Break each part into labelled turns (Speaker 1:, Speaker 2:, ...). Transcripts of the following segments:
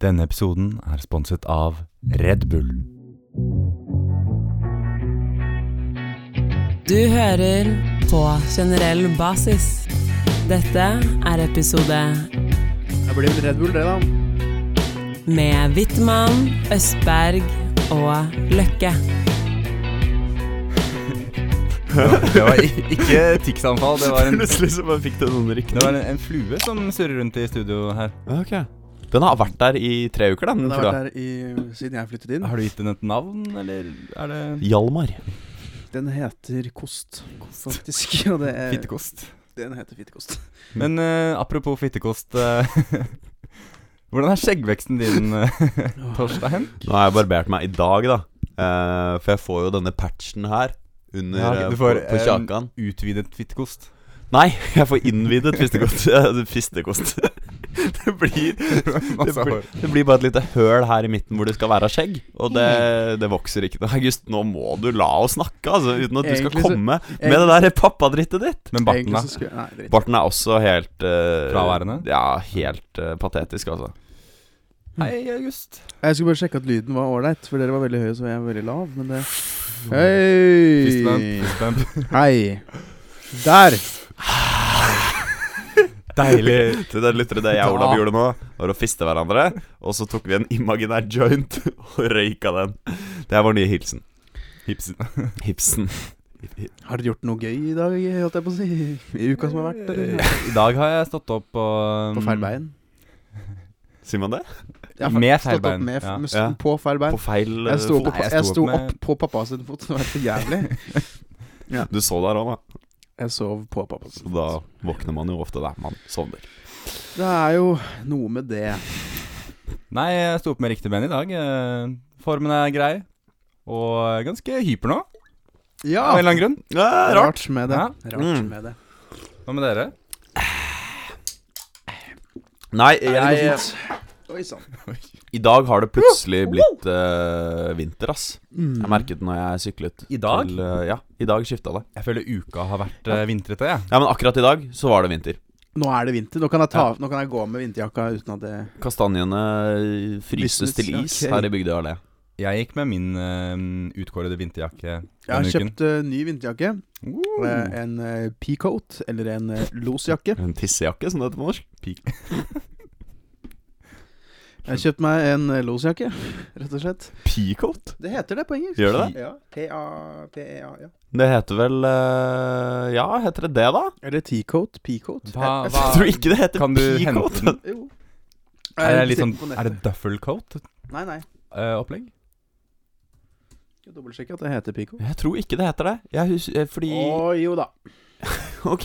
Speaker 1: Denne episoden er sponset av Red Bull.
Speaker 2: Du hører på generell basis. Dette er episode
Speaker 3: Det blir vel Red Bull, det, da.
Speaker 2: med Wittmann, Østberg og Løkke.
Speaker 1: Det var i- ikke tics-anfall, det var en, det
Speaker 3: Plutselig så bare fikk du noen rykter.
Speaker 1: var en, en flue som surrer rundt i studio her.
Speaker 4: Ok Den har vært der i tre uker, den
Speaker 3: Den har
Speaker 4: flua.
Speaker 3: vært der i, siden jeg flyttet inn.
Speaker 1: Har du gitt den et navn, eller er det
Speaker 4: Hjalmar.
Speaker 3: Den heter Kost, faktisk. Og det
Speaker 1: Eh,
Speaker 3: er,
Speaker 1: fittekost?
Speaker 3: den heter Fittekost.
Speaker 1: Men eh, apropos fittekost eh, Hvordan er skjeggveksten din, eh, Torstein?
Speaker 4: Nå har jeg barbert meg i dag, da. Eh, for jeg får jo denne patchen her. Under
Speaker 1: Ja, du
Speaker 4: eh,
Speaker 1: får,
Speaker 4: på, på
Speaker 1: eh,
Speaker 4: kjakan.
Speaker 1: Utvidet fittekost.
Speaker 4: Nei, jeg får innvidet fistekost. Eh, fistekost. det, blir, det,
Speaker 1: Masse
Speaker 4: blir,
Speaker 1: hår.
Speaker 4: det blir bare et lite høl her i midten hvor det skal være skjegg. Og det, det vokser ikke. August, nå må du la oss snakke, altså. Uten at du skal
Speaker 3: Egentlig så-
Speaker 4: komme med det der pappadrittet ditt.
Speaker 1: Men barten, da?
Speaker 3: Egentlig så skulle- Nei, dritt.
Speaker 4: Barten er også helt eh,
Speaker 1: Fraværende?
Speaker 4: Ja, helt eh, patetisk, altså.
Speaker 1: Hei, August.
Speaker 3: Jeg skulle bare sjekke at lyden var ålreit, for dere var veldig høye, så jeg var veldig lav. Men det Hei!
Speaker 1: Fistbump.
Speaker 3: Hei. Der!
Speaker 1: Deilig.
Speaker 4: Til dere lyttere, det jeg og
Speaker 1: Da.
Speaker 4: Olav gjorde nå, var å fiste hverandre, og så tok vi en imaginær joint og røyka den. Det er vår nye hilsen.
Speaker 1: Hipsen.
Speaker 4: Hipsen.
Speaker 3: Har dere gjort noe gøy i dag, holdt jeg på å si? I uka som har vært? Eller?
Speaker 1: I dag har jeg stått opp og
Speaker 3: På feil bein?
Speaker 4: Sier man det?
Speaker 3: Jeg har
Speaker 1: Med
Speaker 3: stått
Speaker 1: feil
Speaker 3: opp
Speaker 1: bein,
Speaker 3: Med,
Speaker 1: ja.
Speaker 3: med, s-
Speaker 4: Ja.
Speaker 3: På feil bein.
Speaker 4: På feil eh,
Speaker 3: Jeg sto opp,
Speaker 4: fot.
Speaker 3: på,
Speaker 1: Nei, jeg
Speaker 3: jeg
Speaker 1: sto
Speaker 3: sto
Speaker 1: opp med-
Speaker 3: opp på pappa sin fot. Det var helt jævlig.
Speaker 4: Du så der òg, da.
Speaker 3: Jeg sov på pappa sin
Speaker 4: Så da våkner man jo ofte der man sovner.
Speaker 3: Det er jo noe med det.
Speaker 1: Nei, jeg sto opp med riktig ben i dag. Eh, Formen er grei. Og ganske hyper nå,
Speaker 3: Ah.
Speaker 1: av en eller annen grunn.
Speaker 4: Ja, rart.
Speaker 3: Rart med det.
Speaker 1: Ja.
Speaker 3: Rart
Speaker 4: Mm.
Speaker 3: med det.
Speaker 1: Hva med dere?
Speaker 4: Nei,
Speaker 3: Nei,
Speaker 4: jeg
Speaker 3: Oi sånn. sann.
Speaker 4: I dag har det plutselig blitt eh, vinter, ass. Jeg merket det når jeg syklet.
Speaker 1: I dag?
Speaker 4: Til, eh, ja, i dag skifta det.
Speaker 1: Jeg føler uka har vært eh, vintrete, jeg.
Speaker 4: Ja, men akkurat i dag så var det vinter.
Speaker 3: Nå er det vinter. Nå kan jeg, ta, nå kan jeg gå med vinterjakka uten at det
Speaker 4: Kastanjene eh, fryses
Speaker 3: Visnes,
Speaker 4: til is
Speaker 3: ok.
Speaker 4: her i Bygdøy allé.
Speaker 1: Jeg gikk med min eh, utkårede vinterjakke
Speaker 3: Jeg har
Speaker 1: denne uken.
Speaker 3: kjøpt eh, ny vinterjakke.
Speaker 1: Uh,
Speaker 3: eh, En eh, peacoat, eller en eh, losjakke.
Speaker 4: En tissejakke, som det heter på norsk.
Speaker 3: Jeg har kjøpt meg en eh, losjakke, rett og slett.
Speaker 4: Peacoat?
Speaker 3: Det heter det på engelsk.
Speaker 4: Gjør det det?
Speaker 3: Ja. P-a-p-e-a, E ja.
Speaker 4: Det heter vel eh, Ja, heter det det, da?
Speaker 3: Eller teacoat. Peacoat.
Speaker 1: Hva-
Speaker 3: Jeg- jeg-
Speaker 1: hva-
Speaker 4: Jeg tror ikke det heter
Speaker 1: Kan du
Speaker 4: peacoat.
Speaker 1: hente den?
Speaker 3: Jo.
Speaker 1: Er det,
Speaker 3: Jeg
Speaker 1: litt sånn,
Speaker 3: bestilte på
Speaker 1: er det
Speaker 3: nettet.
Speaker 1: duffel coat-opplegg?
Speaker 3: Nei, nei.
Speaker 4: eh,
Speaker 3: Skal dobbeltsjekke at det heter peacoat.
Speaker 4: Jeg tror ikke det heter det. Jeg hus eh, fordi
Speaker 3: Å jo da.
Speaker 4: Ok.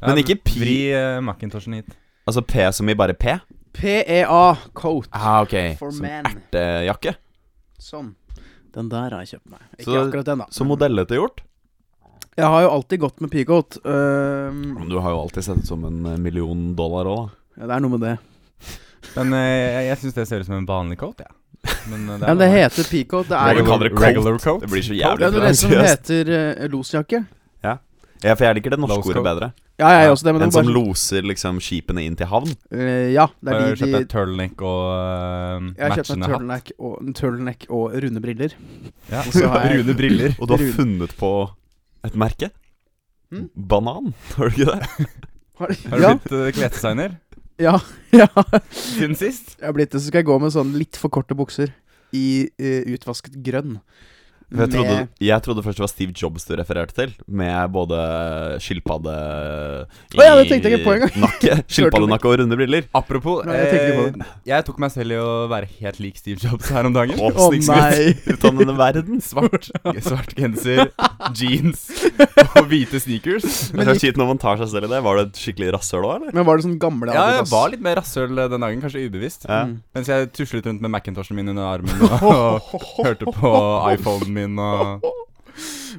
Speaker 4: Men ikke pi-
Speaker 1: Vri eh, Macintoshen hit.
Speaker 4: Altså P som i bare P?
Speaker 3: PEA-coat
Speaker 4: Ah, ok.
Speaker 3: E for
Speaker 4: Som
Speaker 3: man.
Speaker 4: ertejakke.
Speaker 3: Sånn. Den der har jeg kjøpt meg. Ikke
Speaker 4: Så-
Speaker 3: akkurat den, da.
Speaker 4: Så modellete gjort.
Speaker 3: Jeg har jo alltid gått med peacoat. Øhm,
Speaker 4: Men du har jo alltid sett ut som en eh, million dollar òg, da.
Speaker 3: ja, det er noe med det.
Speaker 1: Men eh, jeg, jeg syns det ser ut som en vanlig coat, jeg. Ja. Men eh, det
Speaker 3: Men det
Speaker 1: bare-
Speaker 3: heter peacoat. Det er
Speaker 4: Regular-
Speaker 3: jo
Speaker 4: kaller det coat.
Speaker 1: regular coat.
Speaker 4: Det blir så
Speaker 3: ja, det,
Speaker 4: jævlig
Speaker 3: er det som
Speaker 4: pretensiøst.
Speaker 3: heter eh, losjakke.
Speaker 4: Ja, for jeg liker det norske
Speaker 1: Lowscope.
Speaker 4: ordet bedre.
Speaker 3: Ja, jeg gjør også det, men
Speaker 4: En
Speaker 3: det er
Speaker 4: som
Speaker 3: bare
Speaker 4: loser liksom skipene inn til havn.
Speaker 3: Eh, Ja, det
Speaker 1: Bare
Speaker 3: er de,
Speaker 1: kjøpt
Speaker 3: de
Speaker 1: deg turtleneck og eh,
Speaker 3: Jeg har kjøpt meg
Speaker 1: matchende hatt.
Speaker 3: turtleneck og, en turtleneck og runde briller.
Speaker 1: Ja.
Speaker 3: Og så har jeg-
Speaker 1: Rune briller.
Speaker 4: Og du har
Speaker 3: Rune.
Speaker 4: funnet på et merke?
Speaker 3: Mm.
Speaker 4: Banan, har du ikke det?
Speaker 3: Har,
Speaker 1: Har du
Speaker 3: ja,
Speaker 1: blitt eh, klesdesigner
Speaker 3: ja, ja. Jeg
Speaker 1: siden sist?
Speaker 3: har blitt det, så skal jeg gå med sånn litt for korte bukser i eh, utvasket grønn.
Speaker 4: For Jeg trodde,
Speaker 3: Med-
Speaker 4: jeg trodde først det var Steve Jobs du refererte til, med både skilpadde
Speaker 3: Å ja, det tenkte jeg ikke på engang.
Speaker 4: Nakke, Skilpaddenakke og runde briller.
Speaker 1: Apropos,
Speaker 3: Nei, jeg tenkte ikke på
Speaker 1: eh, jeg tok meg selv i å være helt lik Steve Jobs her om dagen.
Speaker 4: Å,
Speaker 3: Å
Speaker 4: snikskryt.
Speaker 3: nei!
Speaker 4: Ut av denne verden.
Speaker 1: Svart, svart genser, jeans og hvite sneakers.
Speaker 4: Det er så kjipt når man tar seg selv i det. Var du et skikkelig rasshøl òg, eller?
Speaker 3: Men var det sånn
Speaker 1: Ja,
Speaker 3: gamle
Speaker 1: jeg
Speaker 3: Adidas?
Speaker 1: var litt mer rasshøl eh, den dagen, kanskje ubevisst.
Speaker 4: Ja.
Speaker 3: Mm.
Speaker 1: Mens jeg tuslet rundt med Macintoshen min under armen og, og hørte på iPhonen min og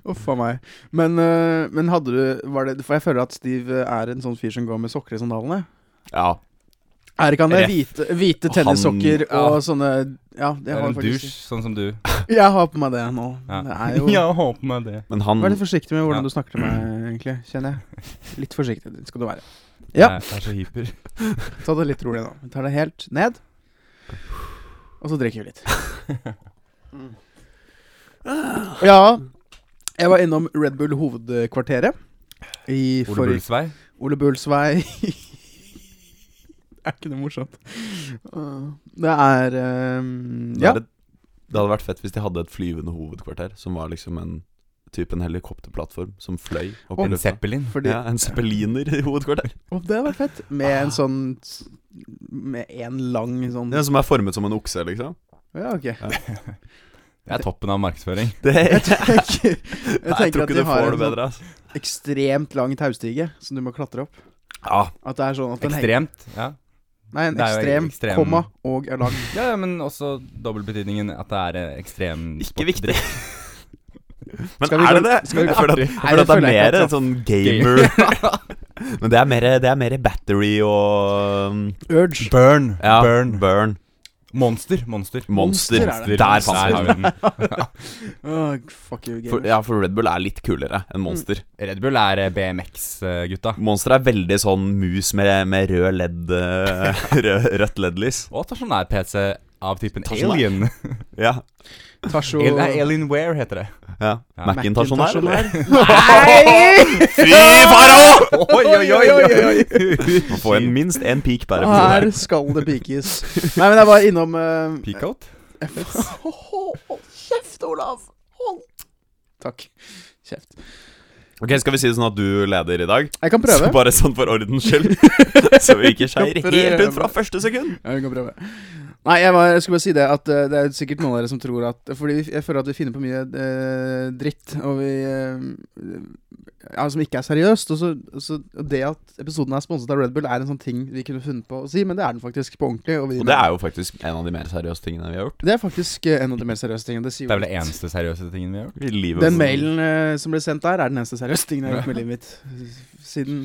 Speaker 3: Uff a meg. Men, øh, men hadde du var det, For jeg føler at Steve er en sånn fyr som går med sokker i sandalene.
Speaker 4: Ja.
Speaker 3: Er ikke han det?
Speaker 4: Ref.
Speaker 3: Hvite, hvite tennissokker
Speaker 1: Han- ja.
Speaker 3: og sånne Ja, det
Speaker 1: Det
Speaker 3: har
Speaker 1: er en
Speaker 3: han
Speaker 1: dusj,
Speaker 3: faktisk.
Speaker 1: sånn som du.
Speaker 3: Jeg har på meg det nå.
Speaker 1: Ja.
Speaker 3: Det er jo
Speaker 1: Ja, håper meg det.
Speaker 4: Men han
Speaker 3: Vær litt forsiktig med
Speaker 1: Ja.
Speaker 3: hvordan du snakker til meg, egentlig. Kjenner jeg. Litt forsiktig skal du være. Ja.
Speaker 1: Jeg er så hyper.
Speaker 3: Ta det litt rolig nå. Vi tar det helt ned. Og så drikker vi litt. Ja, jeg var innom Red Bull hovedkvarteret i
Speaker 1: Ole
Speaker 3: forrige
Speaker 1: Bulsvei.
Speaker 3: Ole Bulls vei. er ikke det morsomt? Uh, Det er ehm,
Speaker 4: Det,
Speaker 3: Ja.
Speaker 4: er et- det hadde vært fett hvis de hadde et flyvende hovedkvarter, som var liksom en type en helikopterplattform som fløy opp i
Speaker 1: En
Speaker 4: lufta.
Speaker 1: Zeppelin.
Speaker 3: Fordi,
Speaker 4: Ja, en zeppeliner i hovedkvarter.
Speaker 3: Å, det hadde vært fett. Med en sånn Med en lang sånn
Speaker 4: Ja, som er formet som en okse, liksom.
Speaker 3: Ja, ok.
Speaker 1: Det er toppen av markedsføring.
Speaker 4: Det, jeg,
Speaker 3: tenker- Jeg tenker at
Speaker 4: tror ikke
Speaker 3: de
Speaker 4: du
Speaker 3: har
Speaker 4: får
Speaker 3: en
Speaker 4: det
Speaker 3: sånn
Speaker 4: bedre, altså.
Speaker 3: ekstremt lang taustige som du må klatre opp.
Speaker 4: Ja,
Speaker 3: At det er sånn at den henger
Speaker 1: Ekstremt. Ja.
Speaker 3: Nei, en
Speaker 1: Det er jo
Speaker 3: ekstrem,
Speaker 1: ekstrem-
Speaker 3: komma og er lang.
Speaker 1: ja, ja, men også dobbeltbetydningen at det er eh, ekstrem
Speaker 4: ikke viktig. Men
Speaker 3: Skal vi
Speaker 4: er
Speaker 3: gå-
Speaker 4: det det?
Speaker 3: skal vi
Speaker 4: Jeg føler at, jeg føler at det
Speaker 3: føler jeg
Speaker 4: er
Speaker 3: ikke
Speaker 4: mer
Speaker 3: at
Speaker 4: sånn gamer Men det er mer, det er mer battery og um,
Speaker 3: Urge.
Speaker 1: Burn.
Speaker 4: ja,
Speaker 1: Burn.
Speaker 4: burn.
Speaker 1: Monster. Monster.
Speaker 4: Monster.
Speaker 3: Monster er det.
Speaker 4: Der fant vi den.
Speaker 1: har vi den.
Speaker 3: Åh, fuck you,
Speaker 4: For,
Speaker 3: gamers.
Speaker 4: ja, for Red Bull er litt kulere enn Monster.
Speaker 1: Red Bull er eh, BMX-gutta.
Speaker 4: Monster er veldig sånn mus med, med rød ledd eh, rød, Rødt leddlys.
Speaker 1: Og stasjonær-PC av typen
Speaker 4: Stasjonær.
Speaker 1: Alien.
Speaker 4: Ja.
Speaker 3: Tasho
Speaker 1: Al- Nei, Alienware heter det.
Speaker 4: ja.
Speaker 1: Ja.
Speaker 4: Macintosh og der, eller?
Speaker 3: Nei!
Speaker 4: Fy faro!
Speaker 1: Oi,
Speaker 4: Må få en, minst én peak per
Speaker 3: Her
Speaker 4: episode.
Speaker 3: skal det pikes. Nei, men jeg var innom eh,
Speaker 1: Peakout?
Speaker 3: Hold kjeft, Olav! Hold Takk. Kjeft.
Speaker 4: Ok, Skal vi si det sånn at du leder i dag?
Speaker 3: Jeg kan prøve.
Speaker 4: Så bare sånn for ordens skyld. Så vi ikke skeier helt ut fra første sekund.
Speaker 3: Ja, vi kan prøve. Nei, jeg, var, jeg skulle bare si det at eh, det er sikkert noen av dere som tror at Fordi vi- jeg føler at vi finner på mye eh, dritt og vi, eh, ja, som ikke er seriøst. Og så, og så og det at episoden er sponset av Red Bull, er en sånn ting vi kunne funnet på å si, men det er den faktisk på ordentlig. Og, vi,
Speaker 4: Og det er jo faktisk en av de mer seriøse tingene vi har gjort.
Speaker 3: det er faktisk eh, en av de mer seriøse tingene. Det, sier
Speaker 1: Det er vel det
Speaker 3: litt.
Speaker 1: eneste seriøse tingen vi har gjort.
Speaker 4: I livet
Speaker 3: Den mailen eh, som ble sendt der, er den eneste seriøse tingen jeg har gjort med livet mitt. Siden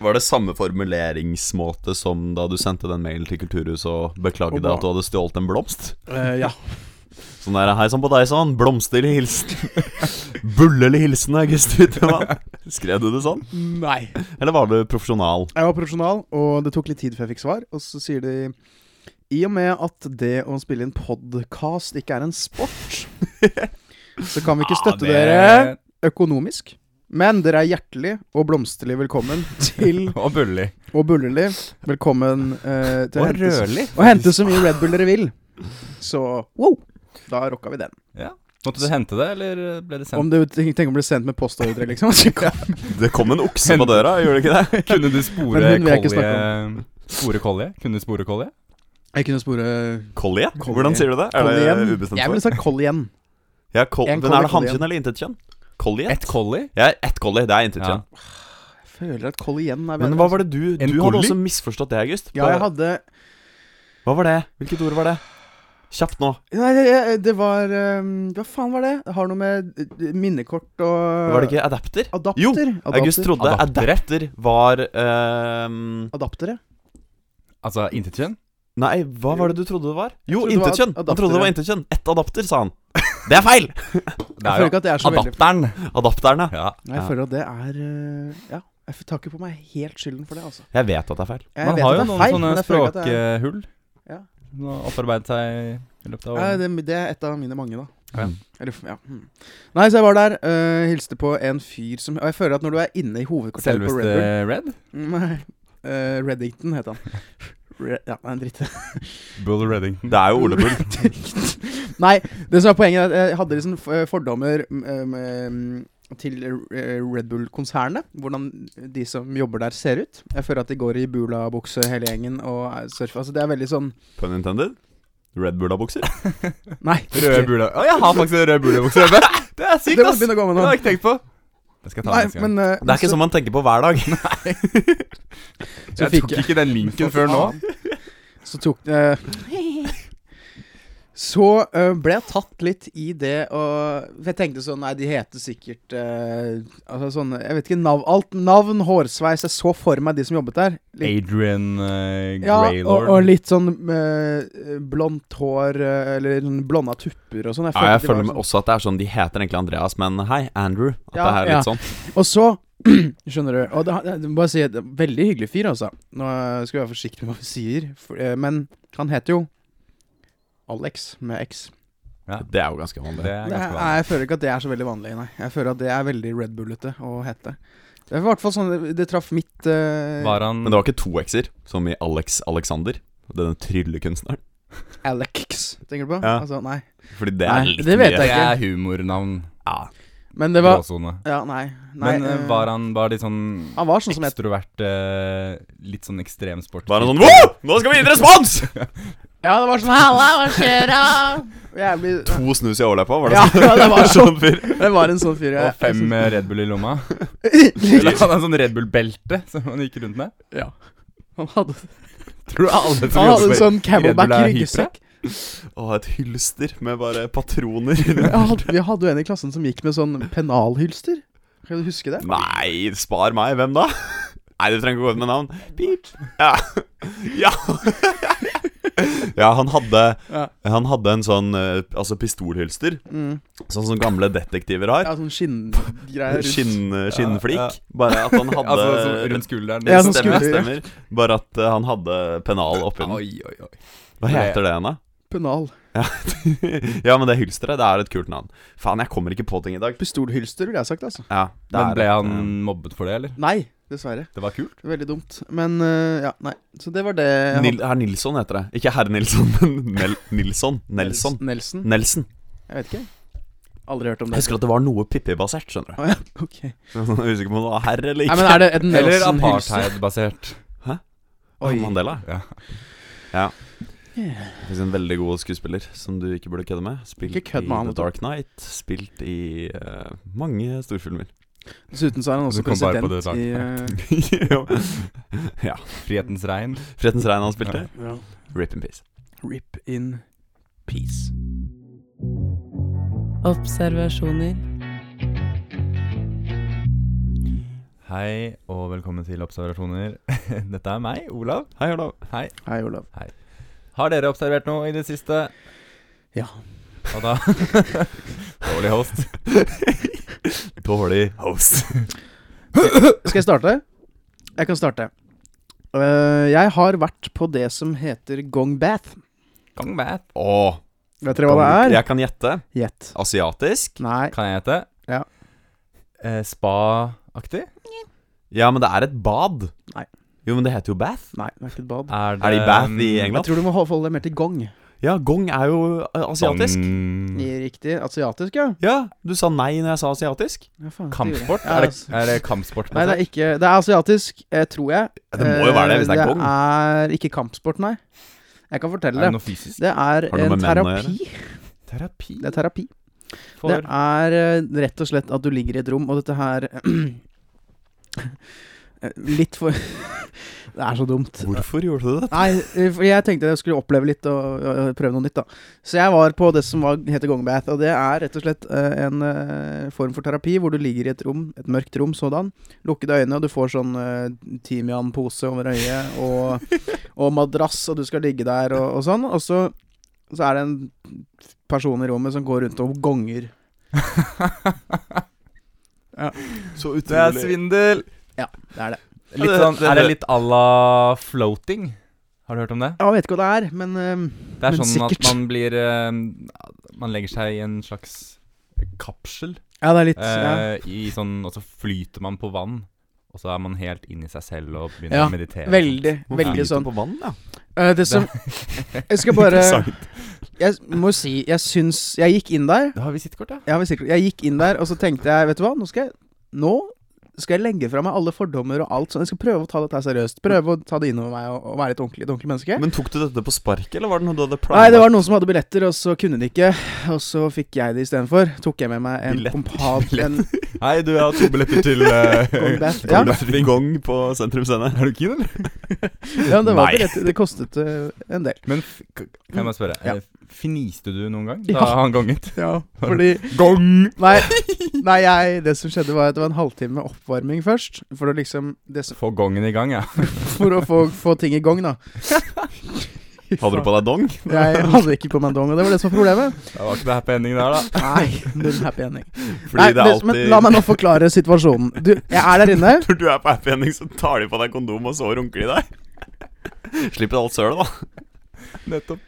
Speaker 4: Var det samme formuleringsmåte som da du sendte den mailen til Kulturhuset og beklagde
Speaker 3: Og ba-
Speaker 4: at du hadde stjålet en blomst?
Speaker 3: eh, Ja.
Speaker 4: Sånn der Hei sann på deg sann, blomsterlig hilsen. Bullelig hilsen, August Utemann. Skrev du det sånn?
Speaker 3: Nei.
Speaker 4: Eller var du profesjonal?
Speaker 3: Jeg var profesjonal, og det tok litt tid før jeg fikk svar. Og så sier de i og med at det å spille inn podkast ikke er en sport, så kan vi ikke støtte dere økonomisk. Men dere er hjertelig og blomsterlig velkommen til
Speaker 1: Og Bulli.
Speaker 3: Og bullerlig velkommen eh, til å
Speaker 1: Og
Speaker 3: hente,
Speaker 1: Rødli.
Speaker 3: å hente så mye Red Bull dere vil. Så wow! Da rocka vi den.
Speaker 1: Måtte du hente det, eller eh, ble det sendt?
Speaker 3: Om du tenk- tenker om det ble sendt med postordre, liksom. Så kom,
Speaker 4: Det kom en okse på døra, gjorde det ikke det?
Speaker 1: Kunne du
Speaker 3: Men
Speaker 1: spore
Speaker 3: hun vil jeg ikke snakke
Speaker 1: kolje? Spore kolje? Kunne du spore kolje?
Speaker 3: jeg kunne spore
Speaker 4: Collie?
Speaker 3: Collie.
Speaker 4: Hvordan sier du det? Er
Speaker 3: Collien.
Speaker 4: det
Speaker 3: Jeg ville
Speaker 4: ubestemt for?
Speaker 3: sagt koll igjen.
Speaker 4: Ja, col
Speaker 3: En collie,
Speaker 4: men er det
Speaker 3: collien.
Speaker 4: hankjønn eller intetkjønn? Collie?
Speaker 1: Et kolli?
Speaker 4: Ja, ett collie. Det er intetkjønn.
Speaker 3: Jeg føler at koll igjen er
Speaker 4: Men hva var det du
Speaker 1: En
Speaker 4: Du hadde
Speaker 1: collie?
Speaker 4: også misforstått det, August.
Speaker 3: Ja, jeg hadde
Speaker 4: Hva var det? Hvilket ord var det? Kjapt nå.
Speaker 3: Nei, det, det- det var ehm, Hva faen var det? Det har noe med eh, minnekort og
Speaker 4: Var det ikke adapter?
Speaker 3: Adapter.
Speaker 4: Jo,
Speaker 3: Øh, adapter.
Speaker 4: August trodde
Speaker 1: Adapter.
Speaker 4: adapter var ehm,
Speaker 3: Adaptere.
Speaker 1: Altså intetkjønn?
Speaker 4: Nei, hva var det du trodde det var? Jo,
Speaker 3: trodde det var
Speaker 4: intetkjønn. Han trodde det
Speaker 3: adaptere.
Speaker 4: var intetkjønn. Ett adapter, sa han. Det er feil!
Speaker 1: Det
Speaker 3: Jeg
Speaker 1: er
Speaker 3: føler
Speaker 1: jo
Speaker 3: ikke at det er så veldig
Speaker 1: adapteren.
Speaker 4: Adapterne.
Speaker 1: Ja.
Speaker 3: Nei, jeg
Speaker 4: Ja.
Speaker 3: føler at det er eh, Ja, jeg tar ikke på meg helt skylden for det, altså.
Speaker 4: Jeg vet at det er feil.
Speaker 3: Jeg
Speaker 1: Man
Speaker 3: vet
Speaker 1: har
Speaker 3: at
Speaker 1: jo
Speaker 3: det er
Speaker 1: noen
Speaker 3: feil,
Speaker 1: sånne eh,
Speaker 3: men jeg føler ikke at det er-
Speaker 1: språkhull.
Speaker 3: Ja.
Speaker 1: Som har opparbeidet seg i løpet av
Speaker 3: Ja,
Speaker 1: årene.
Speaker 3: det, det er et av mine mange, da.
Speaker 1: Ja.
Speaker 3: Eller, ja. hmm. Nei, så jeg var der, eh, hilste på en fyr som Og jeg føler at når du er inne i hovedkvarteret på Red
Speaker 1: Selveste
Speaker 3: Bull
Speaker 1: Red?
Speaker 3: Nei. eh, Reddington het han. Re ja, nei, en dritt.
Speaker 1: Bull Reddington.
Speaker 4: Det er jo Ole Bull.
Speaker 3: Nei, det som er poenget, er at jeg hadde liksom eh, fordommer mm, eh, til eh, Red Bull-konsernet. Hvordan de som jobber der, ser ut. Jeg føler at de går i bulabukse hele gjengen og er surfer. Altså, det er veldig sån
Speaker 4: Pun intended. Red Bull-bukser.
Speaker 3: Nei.
Speaker 1: Røde bula... Å, jeg har faktisk en rød bulabukse hjemme! Det er sykt,
Speaker 3: Det må
Speaker 1: ass!
Speaker 3: begynne å gå med
Speaker 1: Det
Speaker 3: nå.
Speaker 1: har jeg ikke tenkt på. Det skal jeg ta
Speaker 3: Nei,
Speaker 1: neste gang.
Speaker 3: men eh,
Speaker 4: Det er ikke
Speaker 3: så-
Speaker 4: sånn man tenker på hver dag.
Speaker 3: så
Speaker 1: Jeg
Speaker 3: fikk
Speaker 1: tok ikke den linken før nå.
Speaker 3: Så tok det Så eh, ble jeg tatt litt i det, og jeg tenkte sånn Nei, de heter sikkert eh, Altså sånn Jeg vet ikke navn Alt navn, hårsveis Jeg så for meg de som jobbet der. Litt-
Speaker 1: Adrian eh,
Speaker 3: ja, og,
Speaker 1: Greylord.
Speaker 3: og litt sånn eh, blondt hår eh, eller sånn blonda tupper og sånn.
Speaker 4: Ja,
Speaker 3: følte de
Speaker 4: jeg
Speaker 3: var
Speaker 4: føler med
Speaker 3: sånn-
Speaker 4: også at det er sånn De heter egentlig Andreas, men hei, Andrew.
Speaker 3: Ja,
Speaker 4: At det er litt
Speaker 3: ja.
Speaker 4: sånn.
Speaker 3: Og så Skjønner du. Og det, jeg må bare si det er en Veldig hyggelig fyr, altså. Nå eh, skal vi være forsiktige med hva vi sier, for, eh, men han heter jo Alex med X.
Speaker 4: Det er jo ganske vanlig.
Speaker 1: Det er
Speaker 3: Det er,
Speaker 1: ganske vanlig.
Speaker 3: jeg føler ikke at det er så veldig vanlig, nei. Jeg føler at det er veldig Red Bullete og hete. Det er i hvert fall sånn det, det traff mitt eh,
Speaker 1: Var han
Speaker 4: Men det var ikke to x-er, som i Alex Alexander. Denne tryllekunstneren.
Speaker 3: Alex, tenker du på?
Speaker 4: Ja.
Speaker 3: Altså, nei.
Speaker 4: Fordi det
Speaker 3: Nei,
Speaker 4: er litt
Speaker 3: det vet
Speaker 4: mye.
Speaker 1: Det
Speaker 3: jeg ikke.
Speaker 1: er humornavn.
Speaker 4: Ja.
Speaker 3: Men det var
Speaker 1: Gråsone.
Speaker 3: Ja, nei. nei
Speaker 1: Men eh,
Speaker 3: eh,
Speaker 1: var han bare litt sånn
Speaker 3: Han var sånn som jeg
Speaker 1: ekstrovert, eh, litt sånn ekstremsport?
Speaker 4: Var han sånn Wow! Nå skal vi gi respons!
Speaker 3: Ja, det var sånn Halla, hva skjer da? Jævlig
Speaker 4: To snus i overleppa, var det
Speaker 3: ja, ja, det var sånn.
Speaker 4: sånn fyr?
Speaker 3: Det var en sånn fyr. jeg-
Speaker 1: Og fem
Speaker 3: jeg
Speaker 1: eh, Red Bull i lomma?
Speaker 3: synes-
Speaker 1: Eller hadde han sånn Red Bull-belte som han gikk rundt med?
Speaker 3: Ja. Han hadde,
Speaker 1: Tror du alle som
Speaker 3: han hadde
Speaker 1: jobber
Speaker 3: en sånn camelback
Speaker 1: Red Bull er
Speaker 3: ryggsekk.
Speaker 4: Å, et hylster med bare patroner
Speaker 3: Jeg
Speaker 4: inni.
Speaker 3: hadde- Vi hadde jo en i klassen som gikk med sånn pennalhylster. Kan du huske det?
Speaker 4: Nei, spar meg. Hvem da? Nei, du trenger ikke gå ut med navn. Pip. Ja. Ja. ja, han hadde
Speaker 3: Ja.
Speaker 4: Han hadde en sånn eh, altså pistolhylster,
Speaker 3: Mm.
Speaker 4: sånn som gamle detektiver har.
Speaker 3: Ja, sånn skinngreier. rundt.
Speaker 4: Skinn, eh, skinnflik.
Speaker 1: Ja, ja.
Speaker 4: Bare at han hadde
Speaker 1: Altså sånn rundt skulderen?
Speaker 3: Ja, sånn
Speaker 4: Stemmer,
Speaker 3: skulder, ja.
Speaker 4: stemmer. Bare at eh, han hadde pennal oppi den.
Speaker 1: Oi, oi, oi.
Speaker 4: Hva heter det igjen, da?
Speaker 3: Pennal.
Speaker 4: ja, men det hylsteret, det er et kult navn. Faen, jeg kommer ikke på ting i dag.
Speaker 3: Pistolhylster, ville jeg sagt, altså.
Speaker 4: Ja, det
Speaker 1: Men
Speaker 4: er
Speaker 1: ble
Speaker 4: et,
Speaker 1: han
Speaker 4: eh,
Speaker 1: mobbet for det, eller?
Speaker 3: Nei, dessverre.
Speaker 1: Det var kult.
Speaker 3: Veldig dumt. Men eh, ja, nei. Så det var det. jeg hadde.
Speaker 4: Nil, Herr Nilsson heter det. Ikke herr Nilsson, men Nel, Nilsson. Nelson.
Speaker 3: Nelson.
Speaker 4: Nelson.
Speaker 3: Jeg vet ikke. Aldri hørt om
Speaker 4: Jeg
Speaker 3: det.
Speaker 4: husker at det var noe Pippi-basert, skjønner du.
Speaker 3: Å ja, ok.
Speaker 4: Jeg er usikker på om det var herr eller
Speaker 3: Nei,
Speaker 4: ikke.
Speaker 3: men er det et
Speaker 1: Eller
Speaker 3: Nelson-hylse?
Speaker 1: apartheid-basert.
Speaker 4: Ah, Mandela.
Speaker 1: Ja.
Speaker 4: Det finnes en veldig god skuespiller som du ikke burde kødde med. Spilt
Speaker 3: Ikke kødd med han, altså.
Speaker 4: i
Speaker 3: vet
Speaker 4: The
Speaker 3: du.
Speaker 4: Dark Knight. Spilt i eh, mange storfilmer.
Speaker 3: Dessuten så er han også
Speaker 1: Du kom bare på
Speaker 3: president
Speaker 1: det,
Speaker 3: i eh,
Speaker 4: Jo.
Speaker 1: Frihetens regn.
Speaker 4: Frihetens regn han spilte. Rip in peace.
Speaker 3: Rip in peace.
Speaker 2: Observasjoner.
Speaker 1: Hei, og velkommen til Observasjoner. Dette er meg, Olav.
Speaker 4: Hei, Olav.
Speaker 1: Hei.
Speaker 3: Hei, Olav.
Speaker 1: Har dere observert noe i det siste?
Speaker 3: Ja.
Speaker 1: Og da Dårlig host.
Speaker 4: Dårlig host.
Speaker 3: Skal jeg starte? Jeg kan starte. Eh, jeg har vært på det som heter Gong Bath.
Speaker 1: Gong bat.
Speaker 4: Åh,
Speaker 3: Vet dere hva det er?
Speaker 4: Jeg kan gjette.
Speaker 3: Gjett.
Speaker 4: Asiatisk.
Speaker 3: Nei.
Speaker 1: Kan jeg hete?
Speaker 3: Ja.
Speaker 1: Eh, Spa-aktig?
Speaker 4: Ja, men det er et bad.
Speaker 3: Nei.
Speaker 4: Jo, men det heter jo bath.
Speaker 3: Nei, det er ikke et bad.
Speaker 1: Er det
Speaker 4: Er det i bath i
Speaker 3: Jeg
Speaker 4: England?
Speaker 3: tror du må holde deg mer til gong.
Speaker 4: Ja, gong er jo eh,
Speaker 1: sånn-
Speaker 4: asiatisk.
Speaker 1: Gong-
Speaker 3: Riktig. Asiatisk, ja.
Speaker 4: Ja, du sa nei når jeg sa asiatisk.
Speaker 3: ja faen,
Speaker 1: Kampsport?
Speaker 3: Ja,
Speaker 1: Er det,
Speaker 3: altså.
Speaker 1: er det kampsport?
Speaker 3: Nei, det er ikke Det er asiatisk, eh, tror jeg.
Speaker 4: Det må jo være det, hvis det er
Speaker 3: Eh,
Speaker 4: gong.
Speaker 3: Det er ikke kampsport, nei. Jeg
Speaker 1: Er det
Speaker 3: kan fortelle det.
Speaker 1: noe fysisk?
Speaker 3: Det er
Speaker 4: Har det noe
Speaker 3: en
Speaker 4: med menn å
Speaker 3: terapi.
Speaker 1: Terapi
Speaker 3: Det er terapi.
Speaker 1: for
Speaker 3: Det er eh, rett og slett at du ligger i et rom, og dette her eh, Litt for Det er så dumt.
Speaker 4: Hvorfor gjorde du det?
Speaker 3: Nei, eh, for jeg tenkte jeg skulle oppleve litt og, og, og prøve noe nytt, da. Så jeg var på det som var, heter gongbath, og det er rett og slett eh, en eh, form for terapi hvor du ligger i et rom, et mørkt rom sådan, lukkede øyne, og du får sånn eh, timianpose over øyet og, og madrass, og du skal ligge der og, og sånn. Og så, så er det en person i rommet som går rundt og gonger.
Speaker 4: Så
Speaker 1: Det er svindel!
Speaker 3: Det er det.
Speaker 1: Litt
Speaker 4: Ja, det-
Speaker 1: sånn,
Speaker 4: det-
Speaker 1: er det litt à la floating? Har du hørt om det?
Speaker 3: Jeg vet ikke hva det er, men eh,
Speaker 1: Det er
Speaker 3: Men
Speaker 1: sånn
Speaker 3: sikkert.
Speaker 1: at man blir eh, Man legger seg i en slags kapsel.
Speaker 3: Ja, det er litt ja.
Speaker 1: Eh, i sånn, og så flyter man på vann. Og så er man helt inni seg selv og begynner
Speaker 3: Ja,
Speaker 1: å meditere.
Speaker 3: Veldig, veldig sånn.
Speaker 4: På vann, ja.
Speaker 3: Eh, det som Jeg skal bare
Speaker 4: Interessant.
Speaker 3: Jeg må si, jeg syns Jeg gikk inn der.
Speaker 1: Da har vi sittkort, ja.
Speaker 3: Jeg, har visst- jeg gikk inn der, og så tenkte jeg, vet du hva, nå skal jeg Nå skal jeg legge fra meg alle fordommer og alt sånn. Jeg skal prøve å ta dette her seriøst. Prøve å ta det innover meg og, og være et ordentlig, et ordentlig menneske.
Speaker 4: Men tok du dette på sparket, eller var det noe du hadde planlagt?
Speaker 3: Nei, det var noen som hadde billetter, og så kunne de ikke. Og så fikk jeg det istedenfor. Tok jeg med meg en
Speaker 4: Billetter?
Speaker 3: kompat en
Speaker 4: Hei, du, jeg har to billetter til eh,
Speaker 3: Gongbath. Ja.
Speaker 4: Gong- Gong på Sentrum Scene. Er du keen, eller?
Speaker 3: ja, det var
Speaker 4: Nei.
Speaker 3: billetter. Det kostet eh, en del.
Speaker 1: Men f k- kan jeg bare spørre,
Speaker 3: Ja.
Speaker 1: eh, finiste du noen gang da
Speaker 3: Ja.
Speaker 1: han gonget?
Speaker 3: Ja, fordi
Speaker 1: Gong!
Speaker 3: Nei, nei jeg, det som skjedde, var at det var en halvtime med oppvarming først. For å liksom det som,
Speaker 1: Få gongen i gang, ja.
Speaker 3: For å få, få ting i gang, da.
Speaker 4: Hadde du på deg dong?
Speaker 3: Jeg hadde ikke på meg dong, og det var det som var problemet.
Speaker 1: Det var ikke det happy ending der, da.
Speaker 3: Nei, null happy ending.
Speaker 4: Fordi
Speaker 3: Nei,
Speaker 4: det er
Speaker 3: det-
Speaker 4: alltid
Speaker 3: Men la meg nå forklare situasjonen. Du, jeg er der inne.
Speaker 4: Når du er på happy ending, så tar de på deg kondom, og så runker de deg. Slipper alt sølet, da.
Speaker 1: Nettopp.